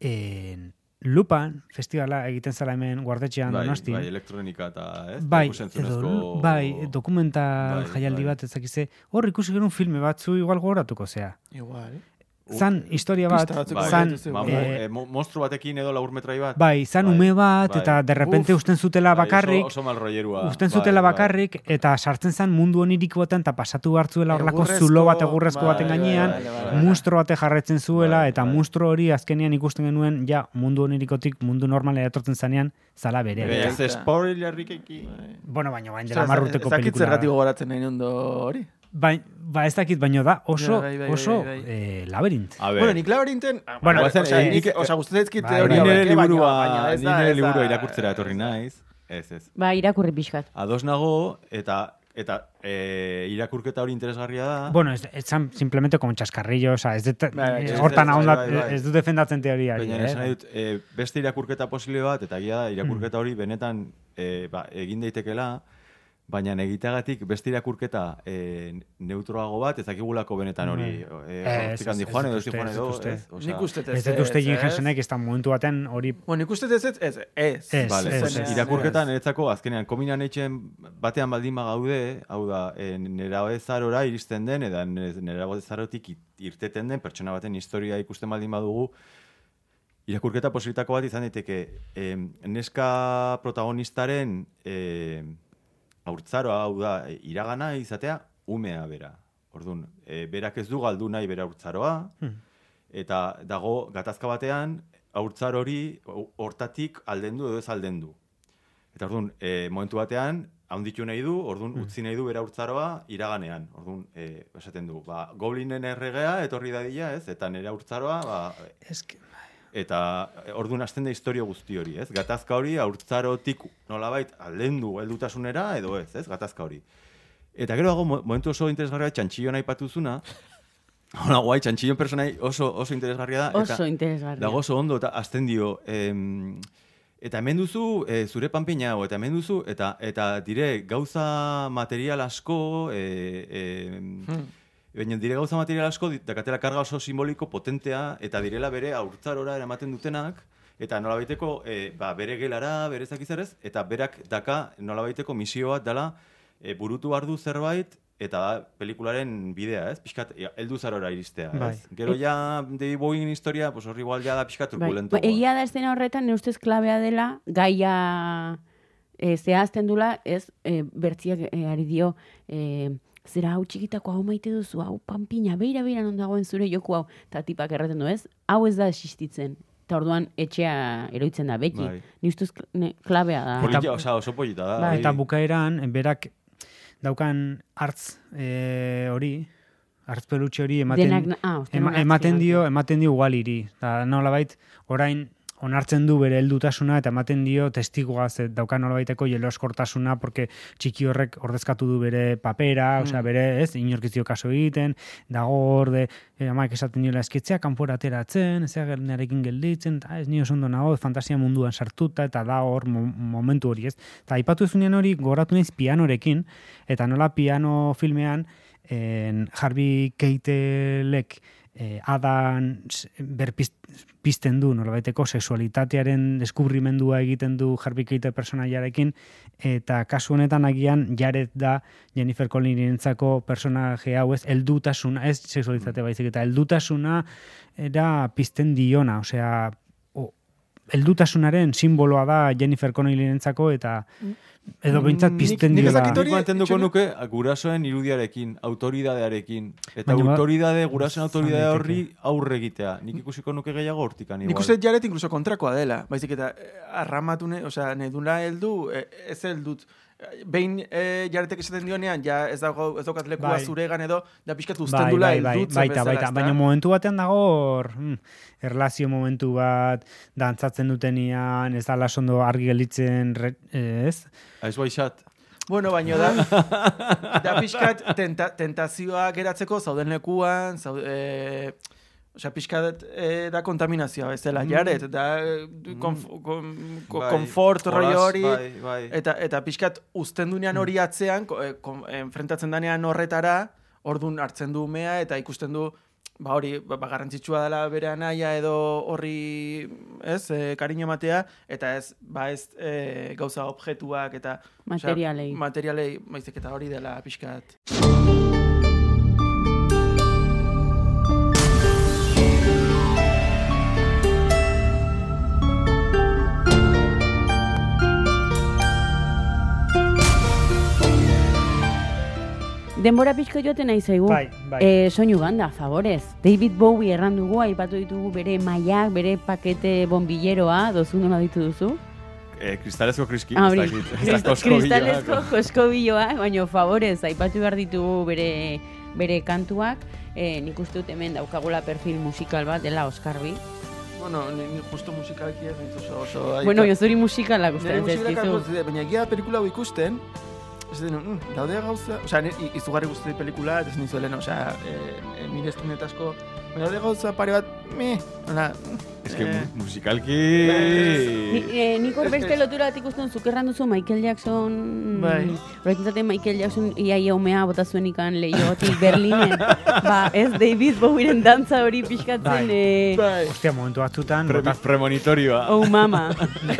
S4: en, lupan, festivala egiten zela hemen guardetxean
S3: bai,
S4: donostin.
S3: bai, elektronika eta, ez?
S4: Bai, edo,
S3: Ikus-entzunezko-
S4: lu- bai, dokumental
S3: Bai,
S4: jaialdi
S3: bai.
S4: bat ezakize. Hor ikusi genuen filme batzu igual gogoratuko zea.
S5: Igual, eh?
S4: Zan historia bat,
S5: Pista batzuk
S3: bai,
S4: zan,
S5: gogoratu
S3: Ba,
S5: zuen.
S3: mo-
S4: eh,
S3: eh, mo- monstru batekin edo laurmetrai bat.
S4: bai, zan
S3: Bai,
S4: ume bat,
S3: bai.
S4: eta de repente
S5: Uf,
S4: usten
S3: Bai,
S4: zutela
S3: oso-
S4: bakarrik,
S3: Oso, malroierua.
S4: usten
S3: Bai,
S4: zutela
S3: bai.
S4: bakarrik, eta sartzen zan mundu oniriko baten, eta pasatu hartzuela horlako
S5: Egurrezko-
S4: zulo bat egurrezko baten
S5: bai, bai,
S4: gainean,
S5: bai, bai, bai.
S4: monstro bate jarretzen zuela,
S3: Bai,
S4: eta
S3: bai.
S4: monstro hori azkenean ikusten genuen, ja, mundu onirikotik mundu normalera etortzen zanean, zala bere.
S3: Baina, Bai, ez spoilerrik
S4: Bueno, baina bain
S5: Osea,
S4: dela
S5: ez-
S4: marruteko
S5: Bai. ez dakit
S4: pelikula.
S5: zergatik gogoratzen nahi ondo hori.
S4: Bai, ba ez dakit, baino da oso,
S5: Ja, bai, bai,
S4: oso
S5: bai, bai.
S4: eh, labirint.
S3: A
S5: Bueno,
S3: ber,
S5: nik labirinten... Ah,
S4: Bueno,
S5: osea,
S3: eh,
S5: nik-
S3: eh,
S5: osea, gustatzen zaizkit
S4: bai,
S5: teoria
S4: nire
S5: bat,
S3: nire
S5: eh, baina-
S3: liburua,
S5: baina ez da-
S3: nire
S5: ez da-
S3: liburua irakurtzera etorri naiz. Ez, ez.
S2: Ba, irakurri pixkat.
S3: Ados nago, eta eta eh, irakurketa hori interesgarria da.
S4: Bueno, ez, ez zan simplemente como chascarrillo, o sea, ez dut,
S5: Ah. Bai,
S4: eh,
S5: ez-
S4: hortan
S3: ez-
S4: ahonda,
S3: bai, bai, bai.
S4: ez dut defendatzen teoriari.
S3: Baina
S4: eh? Hmm.
S3: esan nahi dut, eh, beste irakurketa posible bat, eta egia da, irakurketa hori benetan eh, ba, egin daitekela, baina egiteagatik beste irakurketa eh, neutroago bat, ez dakigulako benetan hori. Eh,
S4: Hmm. Ez,
S3: hortik
S4: ez,
S3: handi
S4: ez
S3: joan,
S4: dut
S3: edo
S4: uste,
S3: ez joan
S4: ez
S3: edo,
S4: dut uste.
S3: ez? Osea,
S5: Nik uste ez,
S4: Ez dut uste
S5: ez, ez.
S4: Jensenek ez da momentu baten hori...
S5: Bueno, nik uste ez, ez, ez, ez.
S4: Ez.
S3: Vale,
S4: Ez,
S3: pues,
S4: ez,
S3: irakurketa niretzako azkenean kominan etxen batean baldin bagaude, hau da, eh, nera zarora iristen den, eta nera zarotik it- irteten den pertsona baten historia ikusten baldin badugu, irakurketa posibilitako bat izan daiteke eh, neska protagonistaren eh, aurtzaroa, hau da, eh, iragana izatea umea bera. Orduan, eh, berak ez du galdu nahi bera aurtzaroa, eta dago gatazka batean haurtzar hori hor- hortatik aldendu edo ez aldendu. Eta orduan, e, momentu batean, handitu nahi du, orduan utzi nahi du bera urtzaroa iraganean. Orduan, e, esaten du, ba, goblinen erregea etorri dadila, ez? Eta nera urtzaroa, ba,
S4: Eske,
S3: eta e, orduan hasten da historia guzti hori, ez? Gatazka hori aurtzarotik nolabait aldendu heldutasunera edo ez, ez? Gatazka hori. Eta gero dago mo- momentu oso interesgarria txantxillon aipatuzuna. Hola, guai, txantxillon personai oso, oso interesgarria da.
S2: Oso interesgarria.
S3: Ah, Dago oso ondo, eta azten dio, em, eta hemen duzu, e, zure panpina hau, eta hemen duzu, eta, eta dire gauza material asko, e, em, Baina dire gauza material asko dit- dakatela karga oso simboliko potentea eta direla bere aurtzarora eramaten dutenak eta nolabaiteko e, ba, bere gelara, bere zakizarez, eta berak daka nolabaiteko misio bat dela e, burutu behar du zerbait eta da pelikularen bidea, ez? Pixkat e, heldu zarora iristea, ez?
S4: Bai.
S3: Gero ja David Bowie historia, pues horri igual ja da pixkat
S2: E- Bai.
S3: turbulentoa.
S2: Ba, Egia da estena horretan, nire ustez klabea dela, gaia e, zehazten dula, ez, e, bertziak e, ari dio, e, zera hau txikitako hau maite duzu, hau panpina, beira beira non dagoen zure joku hau, eta tipak erraten du ez, hau ez da existitzen. Eta orduan etxea eroitzen da beti.
S3: Bai.
S2: Ni ustez kl- ne, klabea da.
S3: Polita,
S4: Eta-
S3: osea, oso polita da.
S2: Bai.
S3: bai.
S4: Eta bukaeran, berak daukan hartz eh, hori, hartz pelutxe hori ematen,
S2: Denak na- ah, ostena
S4: ema-
S2: onartzen
S4: ematen
S2: da.
S4: dio, ematen dio ugaliri. Eta nolabait, orain onartzen du bere heldutasuna eta ematen dio testigoa ze daukan nolabaiteko jeloskortasuna porque txiki horrek ordezkatu du bere papera, osea bere, ez, inork ez dio kaso egiten, dago orde, eh, amak esaten diola eskitzea kanpora ateratzen, ez zer nerekin gelditzen, eta ez ni oso ondo nago, fantasia munduan sartuta eta da hor mo- momentu hori, ez. Eta aipatu ezunean hori goratu naiz pianorekin eta nola piano filmean en, Harvey Keitelek eh, Adan s- berpiz- pizten du nolabaiteko sexualitatearen deskubrimendua egiten du Harvey Keitel personaiarekin eta kasu honetan agian Jared da Jennifer Collinsentzako personaje hau ez heldutasuna ez
S5: Mm.
S4: sexualitate baizik eta heldutasuna era pizten diona, osea o- heldutasunaren simboloa da Jennifer Connellyrentzako eta edo beintzat
S5: Mm. Nik-
S4: pizten
S5: nik ez
S4: diola.
S5: dakit hori-
S3: Nik entenduko
S5: Itxoin-
S3: nuke ah, gurasoen irudiarekin, autoridadearekin. Eta
S4: Baina ba-
S3: autoridade, gurasoen autoridade
S4: Izan
S3: horri aurre egitea. Nik ikusiko nuke gehiago hortikan igual.
S5: Nik uste jaret inkluso kontrakoa dela. Baizik eta eh, arramatu, ne, osea, nahi duna heldu, eh, ez heldut. Eh, Behin eh, jaretek esaten dionean, ja ez dago ez daukat lekua
S4: Bai.
S5: zuregan edo, da pixkat uzten
S4: Bai,
S5: dula
S4: bai, bai,
S5: heldutze
S4: baita,
S5: bezala,
S4: baita,
S5: ezta?
S4: baina momentu batean dago hor, hmm, erlazio momentu bat, dantzatzen dutenian, ez da lasondo argi gelitzen, re- ez?
S3: Aiz baixat.
S5: Bueno, baino da, da pixkat tenta, tentazioa geratzeko zauden lekuan, zau, eh, Osea, pixka dut, eh, da kontaminazioa bezala,
S4: Mm.
S5: jaret, da eh, konf, kon, ko-
S3: Bai,
S5: konfort roi
S3: jolas,
S5: hori,
S3: bai, bai.
S5: eta, eta pixkat uzten dunean hori
S2: Mm.
S5: atzean, ko- eh, kon- enfrentatzen danean horretara, ordun hartzen du umea, eta ikusten du, ba hori, ba, ba, garrantzitsua dela bere anaia edo horri, ez, eh, kariño ematea, eta ez, ba ez, eh, gauza objektuak, eta... osea,
S2: Materialei.
S5: materialei, baizik eta hori dela pixkat.
S2: Denbora pixko joaten nahi zaigu.
S4: Bai, bai.
S2: Eh, soinu banda, favorez. David Bowie erran dugu, aipatu ditugu bere mailak, bere pakete bombilleroa, dozu nola ditu duzu?
S3: Eh, kristalezko kriski,
S2: Ah,
S3: ez
S2: hori.
S3: dakit, ez
S2: Krist-
S3: da kosko
S2: Kristalezko
S3: biloak.
S2: joskobiloak, baina favorez, aipatu behar ditugu bere, bere kantuak. Eh, nik uste dut hemen daukagula perfil musikal bat, dela Oscarbi.
S5: Bueno, ni, ni justo musikalki ez nintu oso... oso aita.
S2: Bueno, jozuri musikalak
S5: Nire
S2: gustatzen
S5: musikalak
S2: zaizkizu.
S5: hartu zide, baina egia da pelikula hau ikusten, ez denu, mm, daude gauza... Osea, nire i- izugarri guzti pelikula, eta ez nizu lehen, osea, eh, eh, nire estunetasko... Baina daude gauza pare bat, meh, hola...
S3: Ez que
S5: eh,
S3: mu- musikalki...
S2: Ni, eh, nik hor
S5: Ez-
S2: beste
S5: ez-
S2: lotura bat ikusten zuk erran duzu Michael Jackson...
S5: Bai.
S2: Horrekin zaten Michael Jackson ia ia umea bota zuen ikan lehiotik Berlinen. ba, ez David Bowieren dantza hori pixkatzen...
S4: Bai.
S2: Eh,
S5: Bai,
S4: Ostia, momentu batzutan,
S3: Pre-
S4: bota-
S3: premonitorioa.
S2: oh mama.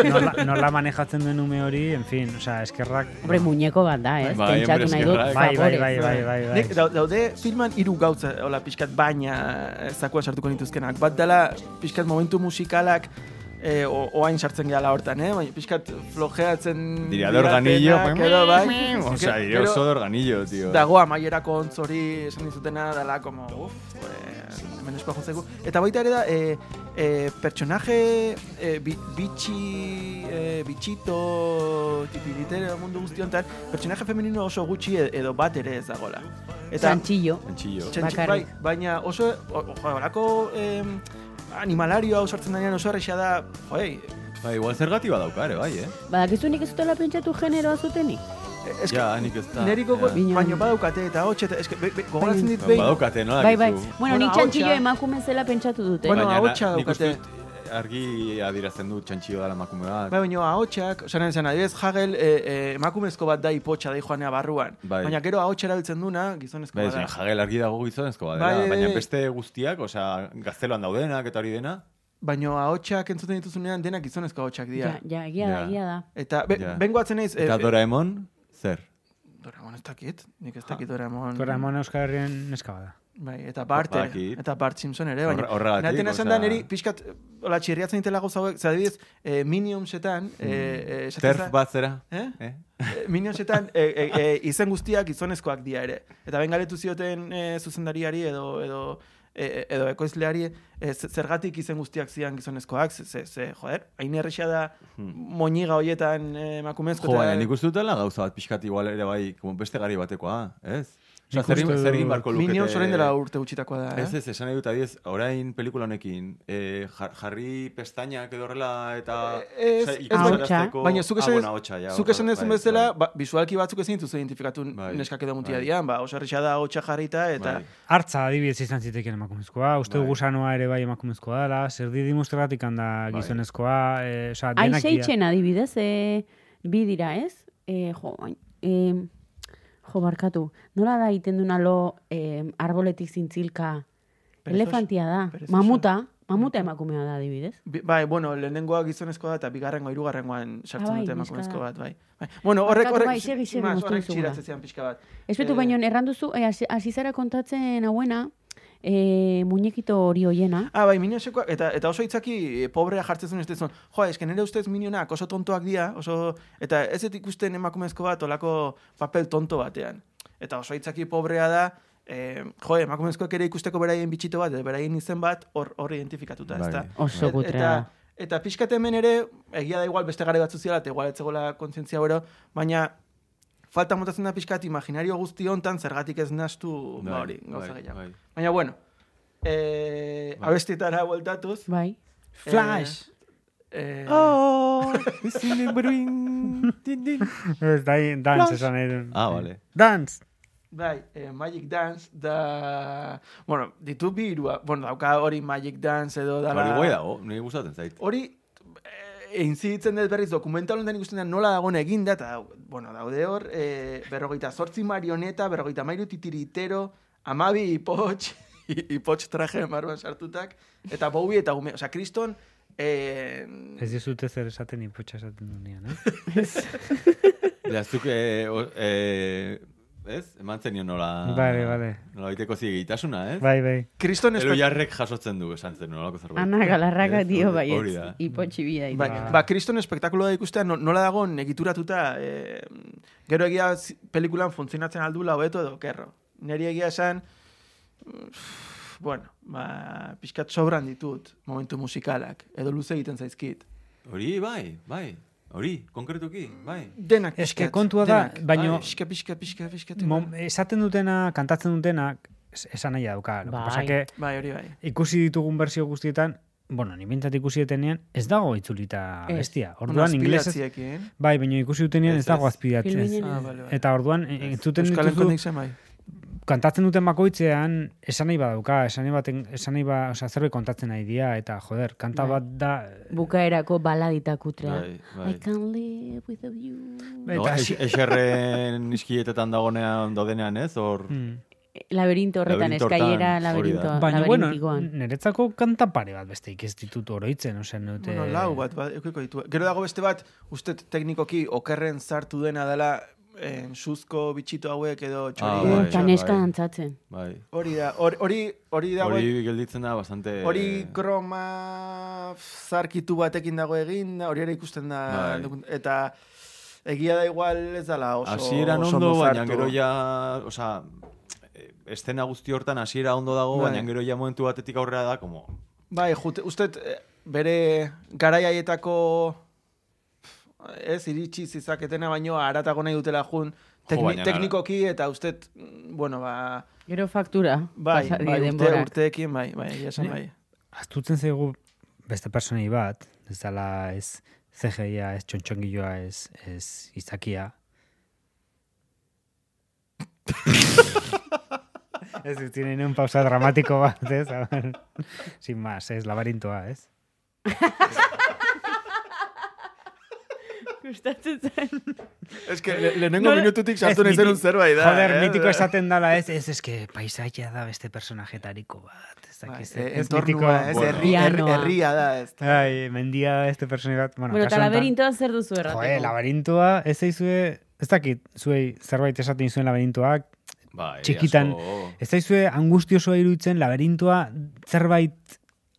S4: nola, nola manejatzen duen ume hori, en fin, osea, eskerrak...
S2: Hombre, muñeko bat da, ez?
S3: Bai, hombre,
S2: Pentsatu nahi dut,
S3: eskerrak.
S4: Bai, bai,
S2: favorez. eh.
S4: bai, bai, bai, bai.
S5: Nik, dau- daude filman hiru gauza, hola, pixkat baina eh, zakuan sartuko nituzkenak. Bat dela, pixkat momentu musikalak eh, o- oain sartzen gehala hortan, eh? Baina pixkat flojeatzen...
S3: Diría de organillo.
S5: diratenak, edo, bai.
S3: O sea, diría
S5: Gero-
S3: oso de organillo, tío.
S5: dago amaierako ontz hori esan dizutena dela como uf, pues, hemen eskoa jotzeko. Eta baita ere da, e, e, pertsonaje e, bi, bitxi, e, bitxito, tipiritero mundu guzti honetan, pertsonaje femenino oso gutxi e- edo bat ere ez dagola.
S2: Txantxillo.
S3: Antxillo.
S5: Txantxi-
S2: bakarrik.
S5: bai, baina oso, o- o- jo, horako em, animalarioa hau sartzen denean oso erresa da, joei,
S3: Ba, igual zergati badaukare, bai, eh?
S2: Badakizu Ba, nik ez dutela pentsatu generoa zutenik?
S5: e-, eske,
S3: Ja, nik ez da.
S5: Neriko
S3: ja.
S2: Bina-
S5: baino badaukate eta hotxe, eta eske, be- be- gogoratzen dit behin,
S3: Ba, Badaukate, nola?
S2: Bai, bai.
S3: dakizu?
S2: Bueno, nik
S5: Bueno,
S2: txantxillo
S5: ahotsa.
S2: emakume zela pentsatu dute.
S5: Ba, Bueno,
S3: Baina na-
S5: ahotsa
S3: nik
S5: daukate.
S3: uste dut Argi adirazten du txantxio dela emakume bat.
S5: Bai, baina ahotsak, osan zen, adibidez, Hagel e, e, emakumezko bat da ipotxa da joanea barruan.
S3: Bai.
S5: Baina gero ahotsa erabiltzen duna, gizonezko
S3: Bai,
S5: bat
S3: zen,
S5: da.
S3: jagel argi dago gizonezko badela,
S5: Bai, bai,
S3: baina
S5: bai.
S3: beste guztiak, osea, gazteloan daudenak eta hori dena,
S5: Baina ahotsak entzuten dituzunean denak gizonezko ahotsak dira.
S2: Ja, ja, egia da,
S3: Ja.
S2: egia da.
S5: Eta, be,
S3: Ja.
S5: bengo atzen naiz... eh,
S3: eta Doraemon, zer?
S5: Doraemon ez dakit, nik ez dakit Doraemon.
S4: Doraemon Euskal Herrien neska bada.
S5: Bai, eta Bart, ere,
S3: Badakit.
S5: eta Bart Simpson ere, baina.
S3: Horre- horregatik,
S5: Naten esan da,
S3: osea-
S5: niri, pixkat, hola, txirriatzen ditela gauza hauek, ze adibidez, eh, Miniumsetan, eh, eh, esaten
S3: Terf
S5: da-
S3: Mm. bat zera?
S5: Eh?
S3: Eh?
S5: Eh, Minionsetan e, e, e, izen guztiak gizonezkoak dira ere. Eta ben galetu zioten e, zuzendariari edo edo e, edo ekoizleari e, ze- zergatik izen guztiak zian gizonezkoak, ze, ze, ze joder, hain errexea da moñiga hoietan e, emakumezko.
S3: Hmm. Jo,
S5: eta-
S3: baina nik uste dutela gauza bat pixkat igual ere bai, como beste gari batekoa, ez? Osea,
S4: Nik
S3: zer egin-
S4: uste
S3: zer egin
S4: dut-
S3: barko lukete...
S5: Minions orain dela urte gutxitakoa da, eh?
S3: Ez, ez, esan nahi dut, adiez, orain pelikula honekin, eh, jar- jarri pestainak edo horrela eta...
S5: Eh, ez,
S3: osea,
S5: ez,
S3: ikusarazteko-
S5: Baina zuk
S3: Ah,
S5: esan,
S3: bueno, ahotsa, ja,
S5: zuk
S3: horre-
S5: esan dezun
S3: bai,
S5: bezala,
S3: bai.
S5: ba, bisualki batzuk ezin dituzu identifikatu
S3: Bai.
S5: neskak edo mutia
S3: Bai.
S5: dian, ba, oso errexea da hotxa jarrita, eta...
S3: Bai.
S4: Artza adibidez izan ziteken emakumezkoa, uste
S3: Bai.
S4: bai. gusanoa ere bai emakumezkoa dela, zer di dimostregatik handa
S3: Bai.
S4: gizonezkoa, eh, osea, denak
S2: Aixe
S4: dira.
S2: itxen adibidez, e, bi dira, ez? E, jo, hain- em, jo, barkatu. Nola da egiten duna lo em, arboletik zintzilka?
S5: Perezos-
S2: Elefantia da.
S5: perezosa.
S2: Mamuta. Mamuta emakumea da adibidez.
S5: Bi- Bai, bueno, lehenengoa gizonezkoa da eta bigarrengoa hirugarrengoan sartzen
S2: Ah, bai,
S5: dute
S2: neska
S5: emakumezko
S2: da.
S5: bat, bai. bai. Bueno, horrek
S2: Barkatu,
S5: horrek
S2: bai, segi, segi,
S5: mas,
S2: moztu
S5: horrek
S2: dizuguna.
S5: txiratzen zian pixka bat.
S2: Espetu,
S5: Eh,
S2: baino, erranduzu, e, hasi- hasi zara kontatzen hauena, e, muñekito hori hoiena.
S5: Ah, bai, miniosekoa, eta, eta oso hitzaki eh, pobrea jartzen zuen ez dezun. Jo, eske nire ustez minionak oso tontoak dira, oso, eta ez ez ikusten emakumezko bat olako papel tonto batean. Eta oso hitzaki pobrea da, eh, jo, emakumezkoak ere ikusteko beraien bitxito bat, edo beraien izen bat, hor, hor identifikatuta,
S3: Bai.
S5: ezta?
S2: Oso
S5: Et-
S2: gutrea
S5: Eta,
S2: da.
S5: eta pixkat hemen ere, egia da igual beste gare batzu ziala, eta igual etzegola kontzientzia bero, baina falta montatzen da pixkat imaginario guzti hontan zergatik ez nastu
S3: Bai,
S5: ba hori, gauza
S3: bai,
S5: gehiago.
S3: bai.
S5: Baina, bueno, e,
S3: Bai.
S5: abestitara bueltatuz. eh,
S2: Bai.
S5: Flash! E,
S3: Oh, izin den beruin, din, din.
S4: Ez, dai, dance esan nahi duen.
S3: Ah, vale.
S4: Dance!
S5: Bai, eh, Magic Dance da... Bueno, ditu bi hirua. Bueno, dauka hori Magic Dance edo
S3: Ba,
S5: dala...
S3: Hori guai dago, nire gustatzen zait.
S5: Hori eh, intziditzen dut berriz dokumental honetan ikusten da nola dagoen eginda, eta bueno, daude hor, eh, berrogeita sortzi marioneta, berrogeita mairu titiritero, amabi ipotx, ipotx traje marruan sartutak, eta bobi eta gume, oza, kriston, eh,
S4: Ez dizute zer esaten ipotxa esaten dunean, eh?
S3: Beraztuk, eh, o- eh, ez? Eman zenion nola...
S4: Bale, bale.
S3: Nola baiteko zigeitasuna, ez?
S4: Bai, bai.
S5: kriston
S3: Elo
S5: espek-
S3: jarrek jasotzen du esan zen nolako zerbait.
S2: Ana galarraga
S3: Ez,
S2: dio bai, baiet.
S3: hori- Hori da.
S2: Ipotxibia.
S5: Bai, ba, kriston espektakuloa ikustea no- nola dagoen egituratuta, eh, gero egia zi- pelikulan funtzionatzen aldula hobeto edo kerro. Neri egia esan, mm, bueno, ba, pixkat sobran ditut momentu musikalak, edo luze egiten zaizkit.
S3: Hori, bai, bai. Hori, konkretuki, bai.
S5: Denak
S4: Eske
S5: pixkat,
S4: kontua da,
S5: denak.
S4: baino-
S5: Ai, Pixka, pixka, pixka, pixka.
S4: Mom, esaten dutena, kantatzen dutena, es- esan nahi dauka. Lo que
S2: Bai.
S4: pasa que
S5: Bai, hori bai.
S4: ikusi ditugun bersio guztietan, bueno, ni bintzat ikusi etenean, ez dago itzulita
S2: Ez.
S4: bestia.
S5: Orduan
S4: Orduan inglesez, bai, baina ikusi dutenean
S3: Ez,
S4: ez dago
S3: ez.
S4: azpidatzen.
S2: Filminen-
S5: Ah, bale, bale.
S4: Eta orduan, e- entzuten
S5: Euskal
S4: dituzu,
S5: Enkondik zen bai.
S4: kantatzen duten bakoitzean, esan nahi badauka, esan nahi, baten, esan nahi ba, oza, zerbait kontatzen nahi dia, eta joder, kanta
S2: Bai.
S4: bat da...
S2: Bukaerako baladita kutrea.
S3: Bai, bai.
S2: I can't live without you.
S4: Bai.
S3: No,
S4: Eta-
S3: ex- exerren iskietetan dagonean daudenean, ez? Hor,
S4: Mm.
S2: Laberinto horretan,
S3: Laberinto hortan,
S2: eskailera
S3: hori da.
S2: laberinto,
S4: Baina, bueno,
S2: laberintikoan.
S4: niretzako kanta pare bat besteik ez ditut oroitzen, osea, nute...
S5: Bueno, lau bat, bat eukiko ditu. Gero dago beste bat, uste teknikoki okerren sartu dena dela eh, suzko bitxito hauek edo
S3: Ah,
S5: txori.
S3: bai,
S2: Eta
S3: bai.
S2: neska dantzatzen.
S3: bai.
S5: Hori da, hor- hori, hori dago,
S3: Hori eh, gelditzen da bastante...
S5: hori kroma zarkitu batekin dago egin, hori ere ikusten da,
S3: Bai.
S5: dokun- eta egia da igual ez dala oso,
S3: Hasieran
S5: oso
S3: ondo, baina
S5: zartu.
S3: gero ja, osea, eh, estena guzti hortan hasiera ondo dago,
S5: Bai.
S3: baina gero ja momentu batetik aurrera da, como,
S5: Bai, jute, uste eh, bere garaiaietako ez iritsi zizaketena baino aratago nahi dutela jun tekni,
S3: baina ara-
S5: teknikoki eta uste, mm, bueno, ba,
S2: Gero faktura.
S5: bai,
S2: pasa die
S5: bai, urte,
S2: denborak.
S5: urteekin, bai, bai, egia esan
S4: Ne-
S5: bai.
S4: Aztutzen zaigu beste personei bat, ez dala ez CGI-a, ez txontxongiloa, ez, ez izakia. ez dut tienen un pausa dramatiko bat, ez? A ver. Sin más, ez labarintoa, ez?
S2: Gustatzen zen.
S5: Ez que le, lehenengo
S2: Nola-
S5: minututik
S4: sartu Eh, Ez, naizen miti-
S5: zerbait eh?
S4: Joder, mitiko esaten dala, ez? Ez, ez que paisaia da beste personajetariko bat, ez dakiz. ez
S5: e, entornua, Bai, eh, ez,
S3: Bueno.
S5: herri- her-
S2: Pianoa.
S5: herria da, ez.
S4: Ai, Bai, mendia este personaje bat, bueno,
S2: Bueno,
S4: kasu
S2: eta
S4: honetan-
S2: laberintoa zer duzu errateko.
S4: Joe, laberintoa, ez zaizue, ez dakit, zuei zerbait esaten zuen laberintoak,
S3: bai,
S4: Txikitan.
S3: asko-
S4: ez zaizue angustiosoa iruditzen laberintoa zerbait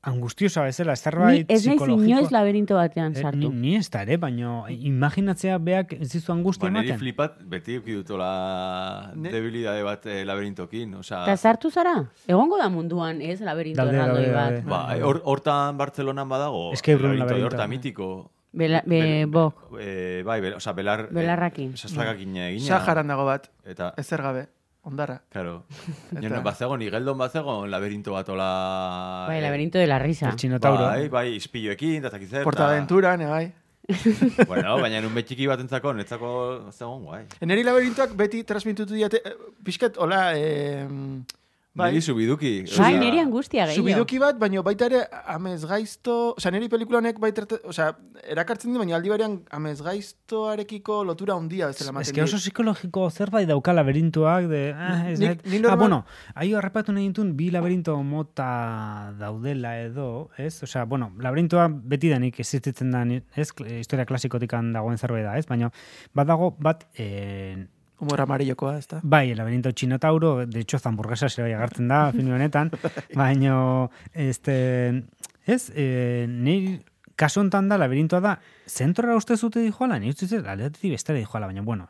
S4: angustiosoa bezala,
S2: Ni
S4: zerbait
S2: ez naiz
S4: psikologikoa.
S2: inoiz laberinto batean
S4: Eh,
S2: sartu.
S4: ni, ni ez da ere, baino imaginatzea beak ez dizu angustia
S3: Ba, niri
S4: ematen.
S3: flipat, beti eukidutola
S5: Ne-
S3: debilidade bat eh, labirintokin, osea...
S2: Eta sartu zara? Egongo da munduan, ez, laberinto
S4: Daude,
S2: erraldoi
S4: daude,
S2: bat.
S4: daude.
S3: Ba, hor- hortan Bartzelonan badago.
S4: Es que Bruno
S3: laberinto,
S4: laberinto,
S3: Horta
S4: bai.
S3: mitiko.
S2: Bela, be,
S3: Bel-
S2: bok.
S3: Eh, bai, bel, osea, belar...
S2: Belarrakin.
S3: Sastrakakin egina.
S5: Bai. Saharan dago bat,
S3: Eta,
S5: ezer gabe, ondarra.
S3: Claro.
S5: Eta-
S3: Eta... bazegon, igeldon bazegon laberinto bat ola...
S2: Bai, laberinto de la risa.
S4: El chinotauro.
S3: Bai, bai, ispiloekin, eta zakizzer.
S5: Portaventura, ne bai.
S3: Bueno, baina nun betxiki bat entzako, netzako zegoen guai.
S5: Neri labirintuak beti transmititu diate, eh, pixkat, hola, em,
S3: Bai.
S5: bai,
S3: Niri subiduki.
S2: Bai,
S3: osea,
S2: niri angustia gehiago.
S5: subiduki bat, baino baita ere amezgaizto, oza, niri pelikula honek baita, oza, erakartzen du, baina aldi berean amezgaiztoarekiko lotura handia bezala
S4: Ez
S5: ematen
S4: que oso psikologiko zerbait dauka laberintoak de... Ah, ez
S5: Nik-
S4: net-
S5: nik
S4: ah
S5: normal-
S4: bueno, ahi horrepatu nahi ditun bi laberinto mota daudela edo, ez? Osea, bueno, laberintoa beti danik existitzen da, ni- ez? Kl- Historia klasikotik dagoen zerbait da, ez? Baina badago bat... Eh,
S5: Humor amarillokoa, ez da?
S4: Bai, el laberinto chinotauro, de hecho, zamburguesa zera agertzen da, film honetan, baino, este, ez, eh, ni kasu honetan da, laberintoa da, zentrora uste zute dijoala, ni uste zut, aldeatetik bestera dijoala, baina, bueno,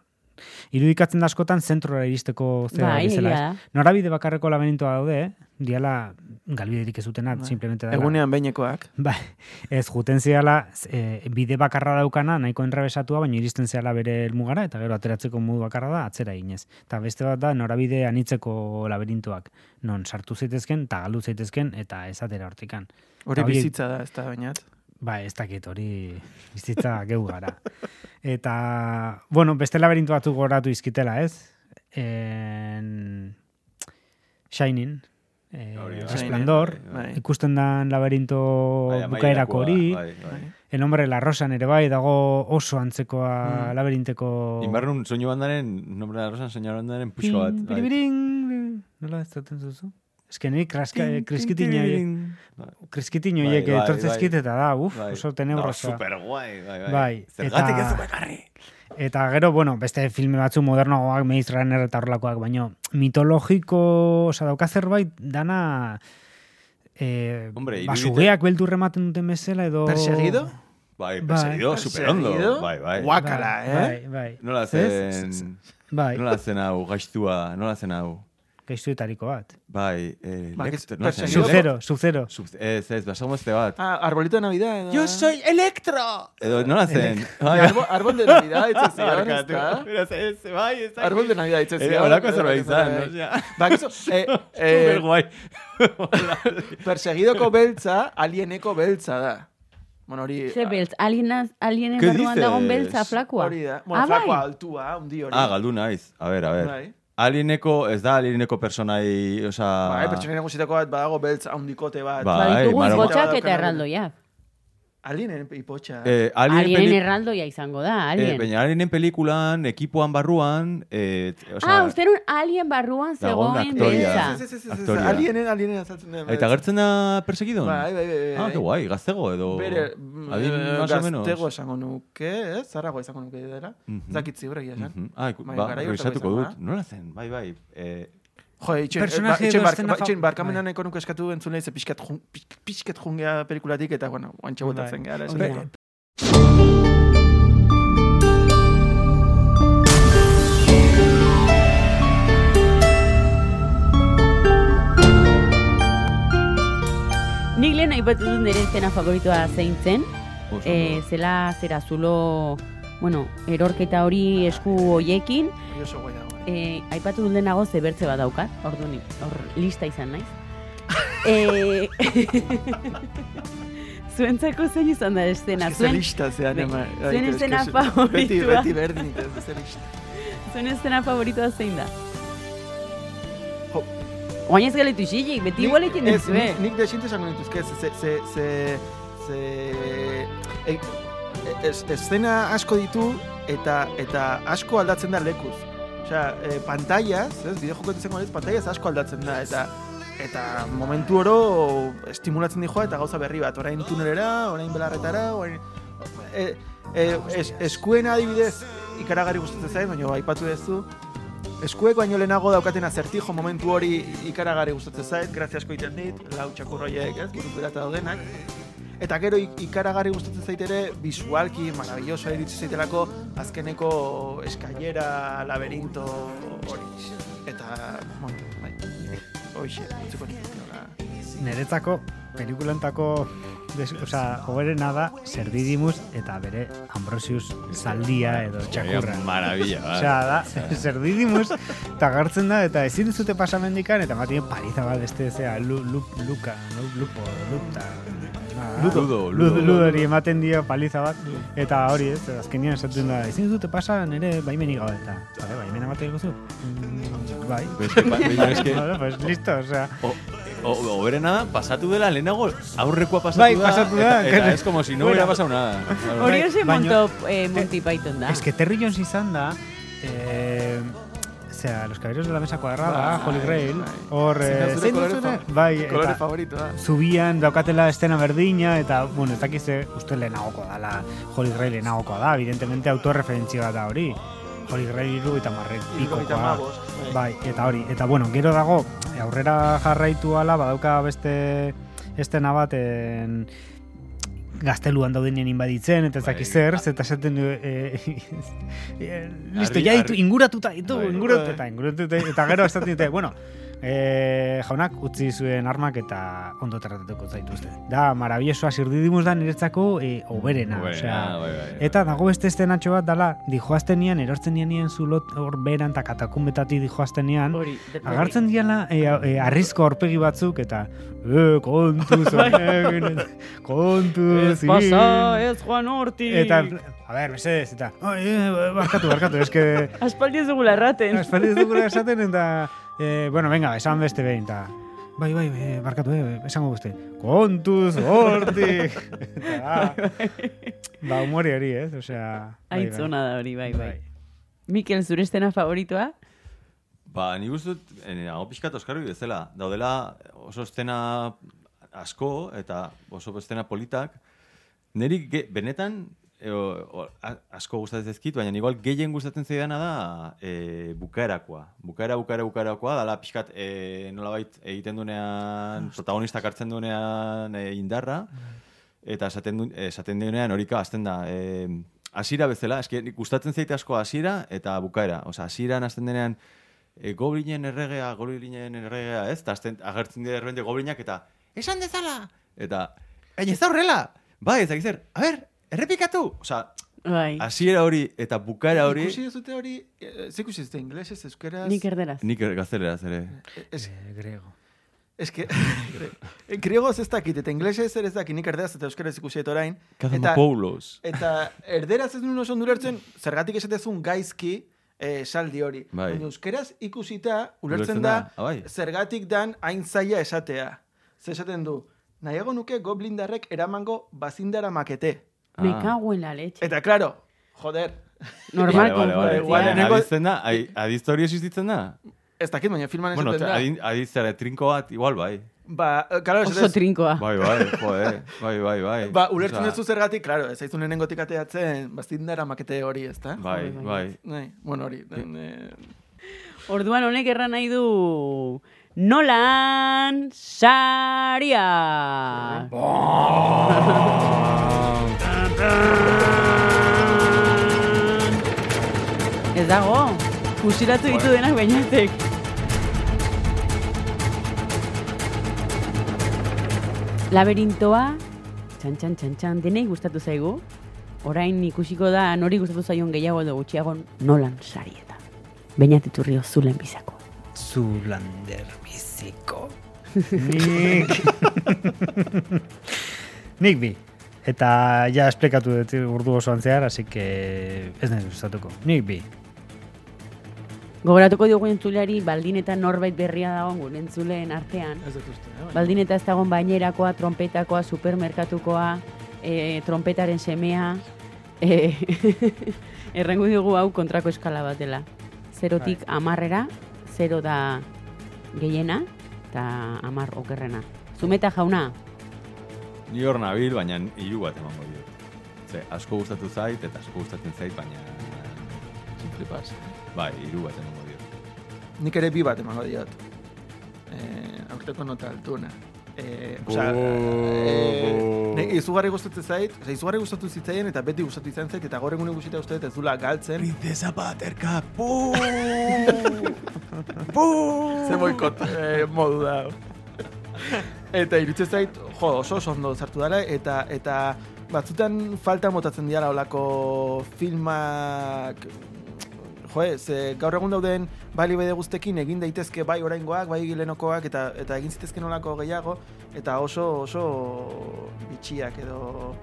S4: irudikatzen da askotan zentrora iristeko zera
S2: Bai,
S4: bezala,
S2: egia
S4: ez? Norabide bakarreko laberintoa daude, eh? diala, galbiderik ez dutenak, simplemente dela.
S5: Egunean behinekoak.
S4: Ba, ez juten zehala e, bide bakarra daukana nahiko enrabesatua, baina iristen zehala bere helmugara eta gero ateratzeko modu bakarra da atzera eginez. Eta beste bat da norabide anitzeko labirintuak, non sartu zaitezken eta galdu zaitezken eta ez atera hortikan.
S5: Hori
S4: Eta horiek-
S5: bizitza da, ez da, bainat.
S4: Ba, ez dakit hori bizitza geu gara. Eta, bueno, beste laberintu batzuk goratu izkitela, ez? en Shining, eh,
S3: Hori da.
S4: Resplandor,
S3: Shining,
S5: bai.
S4: ikusten dan labirinto
S3: Bai, amaierako
S4: bukaerako
S3: da,
S4: hori,
S3: bai, bai.
S4: El hombre de la rosan ere bai, dago oso
S3: Mm.
S4: antzekoa
S5: Bai.
S4: labirinteko...
S3: Inbarrun soinu bandaren, nombre de Rosan soinu bandaren
S4: Pin,
S3: puxo bat. bai.
S4: piribirin, piribirin. Nola ez zaten zuzu? Ez que niri kraska- kriskitin horiek-
S3: Bai,
S4: kriskitin
S3: Bai,
S4: horiek
S3: bai,
S4: etortzen
S3: bai.
S4: ezkit eta da, uf,
S3: bai.
S4: oso tenebrosa.
S3: Da, superguai, bai, bai.
S4: Bai,
S3: Zergatik
S4: eta-
S3: ez du bakarri.
S4: Eta gero, bueno, beste filme batzu modernoagoak, Maze Runner eta horrelakoak, baino mitologiko, oza, dauka zerbait dana eh,
S3: Hombre, irudite-
S4: basugeak beldur ematen duten bezala edo...
S5: Perseguido?
S3: Bai,
S4: Bai.
S3: perseguido, superondo.
S5: Perseguido?
S3: Bai, bai.
S4: Bai,
S5: Guakala, eh?
S4: Bai, bai.
S3: Nola
S4: Ez?
S3: zen...
S4: Bai,
S3: Nola zen hau, gaiztua, nola zen hau.
S4: gaiztuetariko bat.
S3: Bai, eh,
S5: Ba,
S3: Lecter-
S5: que-
S3: nola zen?
S5: perseguido.
S3: Lecter-
S4: Sub-zero, sub-zero.
S3: Sub- Ez, ez, basagomezte bat.
S5: Ah, arbolito de Navidad. edo-
S3: Electro! Edo, nola zen? Bai,
S5: Arbo- Árbol de Navidad, ditzen zion,
S3: Barkatu.
S5: ezta?
S3: Beraz, ez, bai, ez.
S5: Árbol de Navidad, ditzen
S3: Eh,
S5: zion.
S3: holako zerbait izan,
S5: Bai.
S3: osea.
S5: Bakizu, eh, eh,
S3: Superguai.
S5: Persegidoko beltza, alieneko beltza da. Bueno, hori...
S2: Ze beltz, alienaz, alienen
S3: Eh, ¿Qué
S2: barruan dagoen
S3: dices?
S2: beltza, flakua.
S5: Hori da. Bueno,
S2: Ah, bai.
S5: flakoa, altua, hundi hori.
S3: Ah, galdu naiz. A ber, a ber.
S5: Bai.
S3: Alieneko, ez da alieneko personai, oza...
S5: Bai, pertsonen guztietako bat badago beltz handikote bat.
S3: Ba. Ah. Bai,
S2: Baditugu
S3: maro-
S2: izbotxak
S5: Badaukagu.
S2: eta erraldoiak.
S5: Alienen ipotxa.
S3: Eh, alien
S2: Alienen
S3: peli-
S2: erraldoia izango da,
S3: eh,
S2: alien.
S3: baina alienen pelikulan, ekipoan barruan... Eh, oza,
S2: ah, uste nun alien barruan
S3: dagoen
S2: zegoen
S3: aktorea.
S2: beltza.
S5: Ez, ez, ez, ez, ez,
S3: Aktorea.
S5: Alienen, alienen azaltzen den.
S3: Eta gertzen da persegidon?
S5: Bai, bai, bai, bai.
S3: Ah, que guai, gaztego edo...
S5: Bere,
S3: adin
S5: eh,
S3: más o menos.
S5: gaztego esango nuke, ez? Zarrago izango nuke dela.
S3: Mhm.
S5: Zakitzi horregia esan.
S3: Mhm. Ah, iku-
S5: Baina
S3: ba,
S5: garai horretako
S3: revisatuko
S5: Bai, izan
S3: dut.
S5: da.
S3: Nola zen? Bai, bai. Eh,
S5: Jo, itxen,
S4: Personaje
S5: eh, ba- itxen
S4: edo
S5: bark-
S4: eszena
S5: ba- itxen
S4: fa-
S5: barkamena
S4: bai.
S5: nahiko nuke eskatu entzulei, ze pixkat, jun- pix- pixkat jungea pelikulatik, eta, bueno, guantxe botatzen
S4: Bai.
S5: gara. esan
S4: Hombre,
S5: dugu.
S2: Nik lehen aipatu dut nire izena favoritoa zein zen,
S3: oso
S2: eh,
S3: ondo.
S2: zela zera zulo, bueno, erorketa hori esku hoiekin,
S5: Hori oso guai dago, eh.
S2: eh, aipatu dut lehenago ze bertze bat daukat, ordu ni, hor lista izan naiz. eh, zuentzako zein izan da estena,
S5: Ez que
S2: zuen,
S5: zelista zean, eh,
S2: Bai.
S5: ema. Ai,
S2: Zuen
S5: eske-
S2: izena
S5: eske- Beti,
S2: favoritua.
S5: beti berdin, eta ez zelista.
S2: zuen estena favoritoa zein da?
S5: Jo.
S2: Oain ez galetu isilik, beti
S5: Nik-
S2: igual egin
S5: ez,
S2: duzu, eh?
S5: nik- Nik desinte esango nituzke, ze, ze, ze, ze, ze, e- ez, eszena asko ditu eta eta asko aldatzen da lekuz. Osea, e, pantailaz, ez, bideo jokoetan zengo aldiz, pantailaz asko aldatzen da, eta eta momentu oro estimulatzen dijoa eta gauza berri bat, orain tunelera, orain belarretara, orain... E, e, es, eskuen adibidez, ikaragarri gustatzen zait, baina aipatu duzu, Eskuek baino lehenago daukaten azertijo momentu hori ikaragarri gustatzen zait, grazia asko egiten dit, lau txakurroiek, ez, buruz berata daudenak. Eta gero ik- ikaragarri gustatzen zait ere, bisualki, maravilloso iritsi zaitelako azkeneko eskailera, laberinto hori. Eta, bueno, bai, hoxe, utziko nioke, hola.
S4: Neretzako, pelikulantako des, oza, hoberena da, Ser Didymus eta bere Ambrosius zaldia edo txakurra.
S3: Oia, Maravilla, bai.
S4: Osea, da, zer didimus, eta gartzen da, eta ezin dizute pasamendikan, eta matien pariza bat beste zea, lu, lu, luka, lu, lupo, ba, lupta, na,
S3: Ludo,
S4: lu-
S3: ludo.
S4: ludori ematen dio paliza bat, eta hori ez, azkenean esaten da, ezin dizute pasa nere baimenik gabe, eta, bale, baimena ematen diguzu? Mm, bai.
S3: Pero es que, ba- baina es que,
S4: Bueno, pues listo, osea.
S3: o- o- Oberena pasatu dela lehenago aurrekoa pasatu
S4: Bai,
S3: da.
S4: pasatu da,
S3: eta- Eta,
S4: claro.
S3: es como si no
S4: Bueno.
S3: hubiera pasado nada. Claro.
S2: Hori
S4: Bai,
S2: hori
S4: baino-
S2: monto eh, Monty Python da.
S4: Es que Terry Jones izan da, eh, zera, Los Caballeros de la Mesa Cuadrada,
S5: Bai,
S4: Holy Grail,
S5: bai.
S4: hor...
S5: Zein da
S4: eh,
S5: zure
S4: zein
S5: kolore
S4: duzune?
S5: fa-
S4: Bai,
S5: Kolore
S4: eta...
S5: favoritoa.
S4: zubian daukatela estena berdina, eta, bueno, ez dakize, uste lehenagokoa dala, Holy Grail lehenagokoa da, evidentemente autorreferentzia bat da hori. Holy Grail iru eta marren
S5: Hirurogeita
S4: pikokoa.
S5: hamabost, bai.
S4: Bai, eta hori, eta bueno, gero dago, eh, aurrera jarraitu ala, badauka beste estena bat, en, gazteluan daudenien inbaditzen, eta ez
S3: Bai.
S4: dakiz zer, eta esaten du, eh, eh, listo,
S3: Arri-
S4: ja ditu,
S3: arri-
S4: inguratuta ditu,
S3: Bai.
S4: inguratuta, inguratuta, eta gero esaten dute, bueno, e, jaunak utzi zuen armak eta ondo tratatuko zaituzte. Da, marabiesoa sirdidimus da niretzako e,
S3: Oberena,
S4: oberena. osea,
S3: bai, bai, bai.
S4: Eta dago beste estenatxo bat dala, dijoazten nian, erortzen nian nien zulot hor beran eta katakumbetatik dijoazten nian,
S2: Hori, depende.
S4: agartzen diala e, e, arrizko horpegi batzuk eta e, kontu zonen, kontu
S2: Ez pasa, ez Juan Horti.
S4: Eta, a ber, mesedez, eta, "Ai, eh, barkatu, barkatu, eske
S2: Aspaldi ez dugula erraten.
S4: Aspaldi ez dugula esaten eta... eh, bueno, venga, esan beste behin, eta... Bai, bai, eh, barkatu, eh, esango guzti. Kontuz, hortik! Eta da, ba, humori hori, ez? Osea... bai, bai.
S2: Aitzona da hori, bai, bai.
S4: Bai.
S2: Mikel, zure estena favoritoa?
S3: Ba, ni guztut, nago pixkat Oskarbi bezala. Daudela oso estena asko eta oso estena politak. Neri ge- benetan e, o- o- a- asko gustatzen zaizkit, baina igual gehien gustatzen zaidana da e, bukaerakoa. Bukaera, bukaera, bukaerakoa, dala pixkat e, nolabait egiten dunean, protagonistak hartzen dunean e, indarra, eta esaten, du, eh, esaten duenean horika azten da. E, asira bezala, eske nik gustatzen zaite asko hasiera eta bukaera. Osa, hasieran azten denean e, goblinen erregea, goblinen erregea, ez? Eta azten, agertzen dira erbente goblinak eta esan dezala! Eta, baina ez da horrela! Bai, ez zer, a ber, errepikatu! Osa,
S2: Bai.
S3: hasiera hori eta bukaera hori...
S5: Ikusi duzute hori, eh, ze ikusi duzute inglesez, euskeraz...
S2: Nik er- erderaz.
S3: Nik gazteleraz ere.
S5: Es,
S4: Eh, grego.
S5: es que, griegoz ez dakit, eta inglesez ere ez dakit, nik erderaz eta euskeraz ikusi dut orain. Eta,
S3: Kazamapoulos.
S5: eta erderaz ez nuen oso ondo ulertzen, zergatik esatezun gaizki eh, saldi hori.
S3: Bai.
S5: Baina euskeraz ikusita, ulertzen
S3: Ulertzen
S5: da,
S3: da, ah, bai.
S5: zergatik dan hain zaila esatea. Zer esaten du, nahiago nuke goblindarrek eramango bazindara makete.
S2: Me
S3: Ah.
S2: cago en la leche.
S5: Eta, claro, joder,
S2: Normal,
S3: Vale, vale,
S5: kontua,
S3: vale.
S5: igual,
S3: Baina
S5: lehenengo-
S3: Aditzen da, ai- adizte hori existitzen da?
S5: ez dakit, baina filman
S3: Bueno,
S5: esaten da.
S3: adin- adizte trinko bat, igual bai.
S5: Ba, eh, claro,
S2: Oso ah.
S5: esatez,
S2: trinkoa.
S3: Bai, bai, joder, bai, bai, bai.
S5: Ba, ulertzen
S3: Osea,
S5: ez zergatik, claro, ez aizu nenengotik ateatzen, bazindara makete hori, ez da?
S3: Bai,
S2: Bai, bai.
S3: bai.
S5: Nahi, bueno, hori. eh,
S2: Orduan honek erran nahi du... Nolan Saria! Ez dago, fusilatu ditu denak bainatek. Laberintoa, txan, txan, txan, txan, denei gustatu zaigu. Orain ikusiko da nori gustatu zaion gehiago edo gutxiago nolan sarietan. Bainat iturrio zulen bizako.
S4: Zulander biziko. Nik... Nik bi. Eta ja esplikatu dut urdu osoan zehar, así que ez naiz gustatuko. Nik bi.
S2: Gogoratuko diogu entzuleari baldin eta norbait berria dagoen gure entzuleen artean.
S5: ez dut uste, eh, baina-
S2: Baldin eta ez dagoen bainerakoa, trompetakoa, supermerkatukoa, e, trompetaren semea. E, errango diogu hau kontrako eskala bat dela. Zerotik amarrera, zero da gehiena, eta amar okerrena. Zumeta jauna,
S3: Ni hor nabil, baina hiru bat emango diot. Ze, asko gustatu zait eta asko gustatzen zait, baina
S5: Simple pas.
S3: bai, hiru bat emango diot.
S5: Nik ere bi bat emango diot. Eh, aurteko nota altuna. Eh, osea, eh, ne- izugarri gustatzen zait, osea, izugarri gustatu zitzaien eta beti gustatu izan zait eta gaur egun ikusita uste dut ez dula galtzen.
S3: Princesa Buttercup, bu!
S5: Ze boikot eh, modu da. hau. eta iruditzen zait, jo, oso oso ondo sartu dara eta eta batzutan falta motatzen dira holako filmak Jo, eh, ze gaur egun dauden bai bide guztekin egin daitezke bai oraingoak, bai lenokoak eta eta egin zitezken olako gehiago eta oso oso bitxiak edo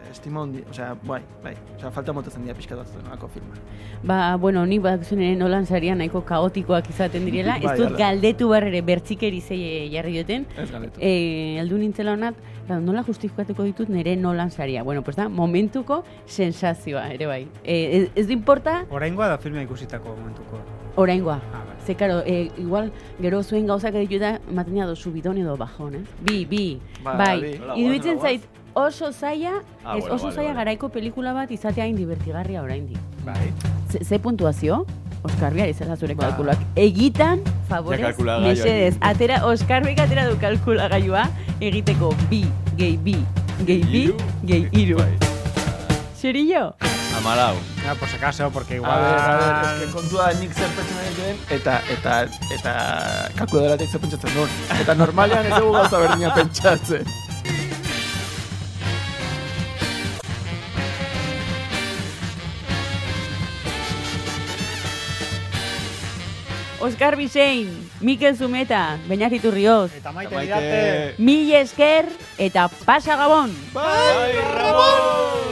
S5: eh, estima hundi, osea, bai, bai, osea, falta motatzen dira pixka batzuten olako filma.
S2: Ba, bueno, ni bat ere nolan saria nahiko kaotikoak izaten direla. Ez
S5: Bai,
S2: dut
S5: hala.
S2: galdetu barrere bertzikeri zei jarri joten.
S5: Ez galetu.
S2: E, aldu nintzela honat, eta nola justifikatuko ditut nire nolan saria. Bueno, pues da, momentuko sensazioa, ere bai. E, ez, ez du importa,
S4: Oraingoa da filma ikusitako momentuko.
S2: oraingoa.
S4: Ah, bai.
S2: Ze, karo, e, igual, gero zuen gauzak ditu eta maten do subidon edo bajon, eh? Bi, bi,
S5: Ba, bi.
S2: bai.
S3: Hola,
S2: Iduitzen
S3: guazen,
S2: zait, oso zaila,
S3: Ah,
S2: ez
S3: bueno,
S2: oso
S3: vale,
S2: zaila
S3: vale.
S2: garaiko pelikula bat izatea indibertigarria oraindik.
S5: Bai.
S2: Ze, ze puntuazio? Oskar Biar izan da zure
S3: Ba.
S2: kalkulak. Egitan,
S3: Ja,
S2: favorez,
S3: kalkulagailua
S2: mesedez.
S3: egin.
S2: Atera, Oskar Biak atera du kalkulagailua egiteko bi, gehi bi, gehi bi, gehi iru.
S3: Bai.
S2: Zerillo?
S3: Amalau.
S4: Ah, por si acaso, porque igual... Ah,
S5: A ber, a ber, eske kontua da nik zer pentsatzen ari den, eta, eta, eta kalkuladoratik zer pentsatzen duen. Eta normalean ez dugu gauza berdina pentsatzen.
S2: Oskar Bisein, Mikel Zumeta, Beñat Iturrioz,
S4: Eta maite didate.
S2: Mil Esker eta Pasa Gabon!
S5: Bai, Ramon!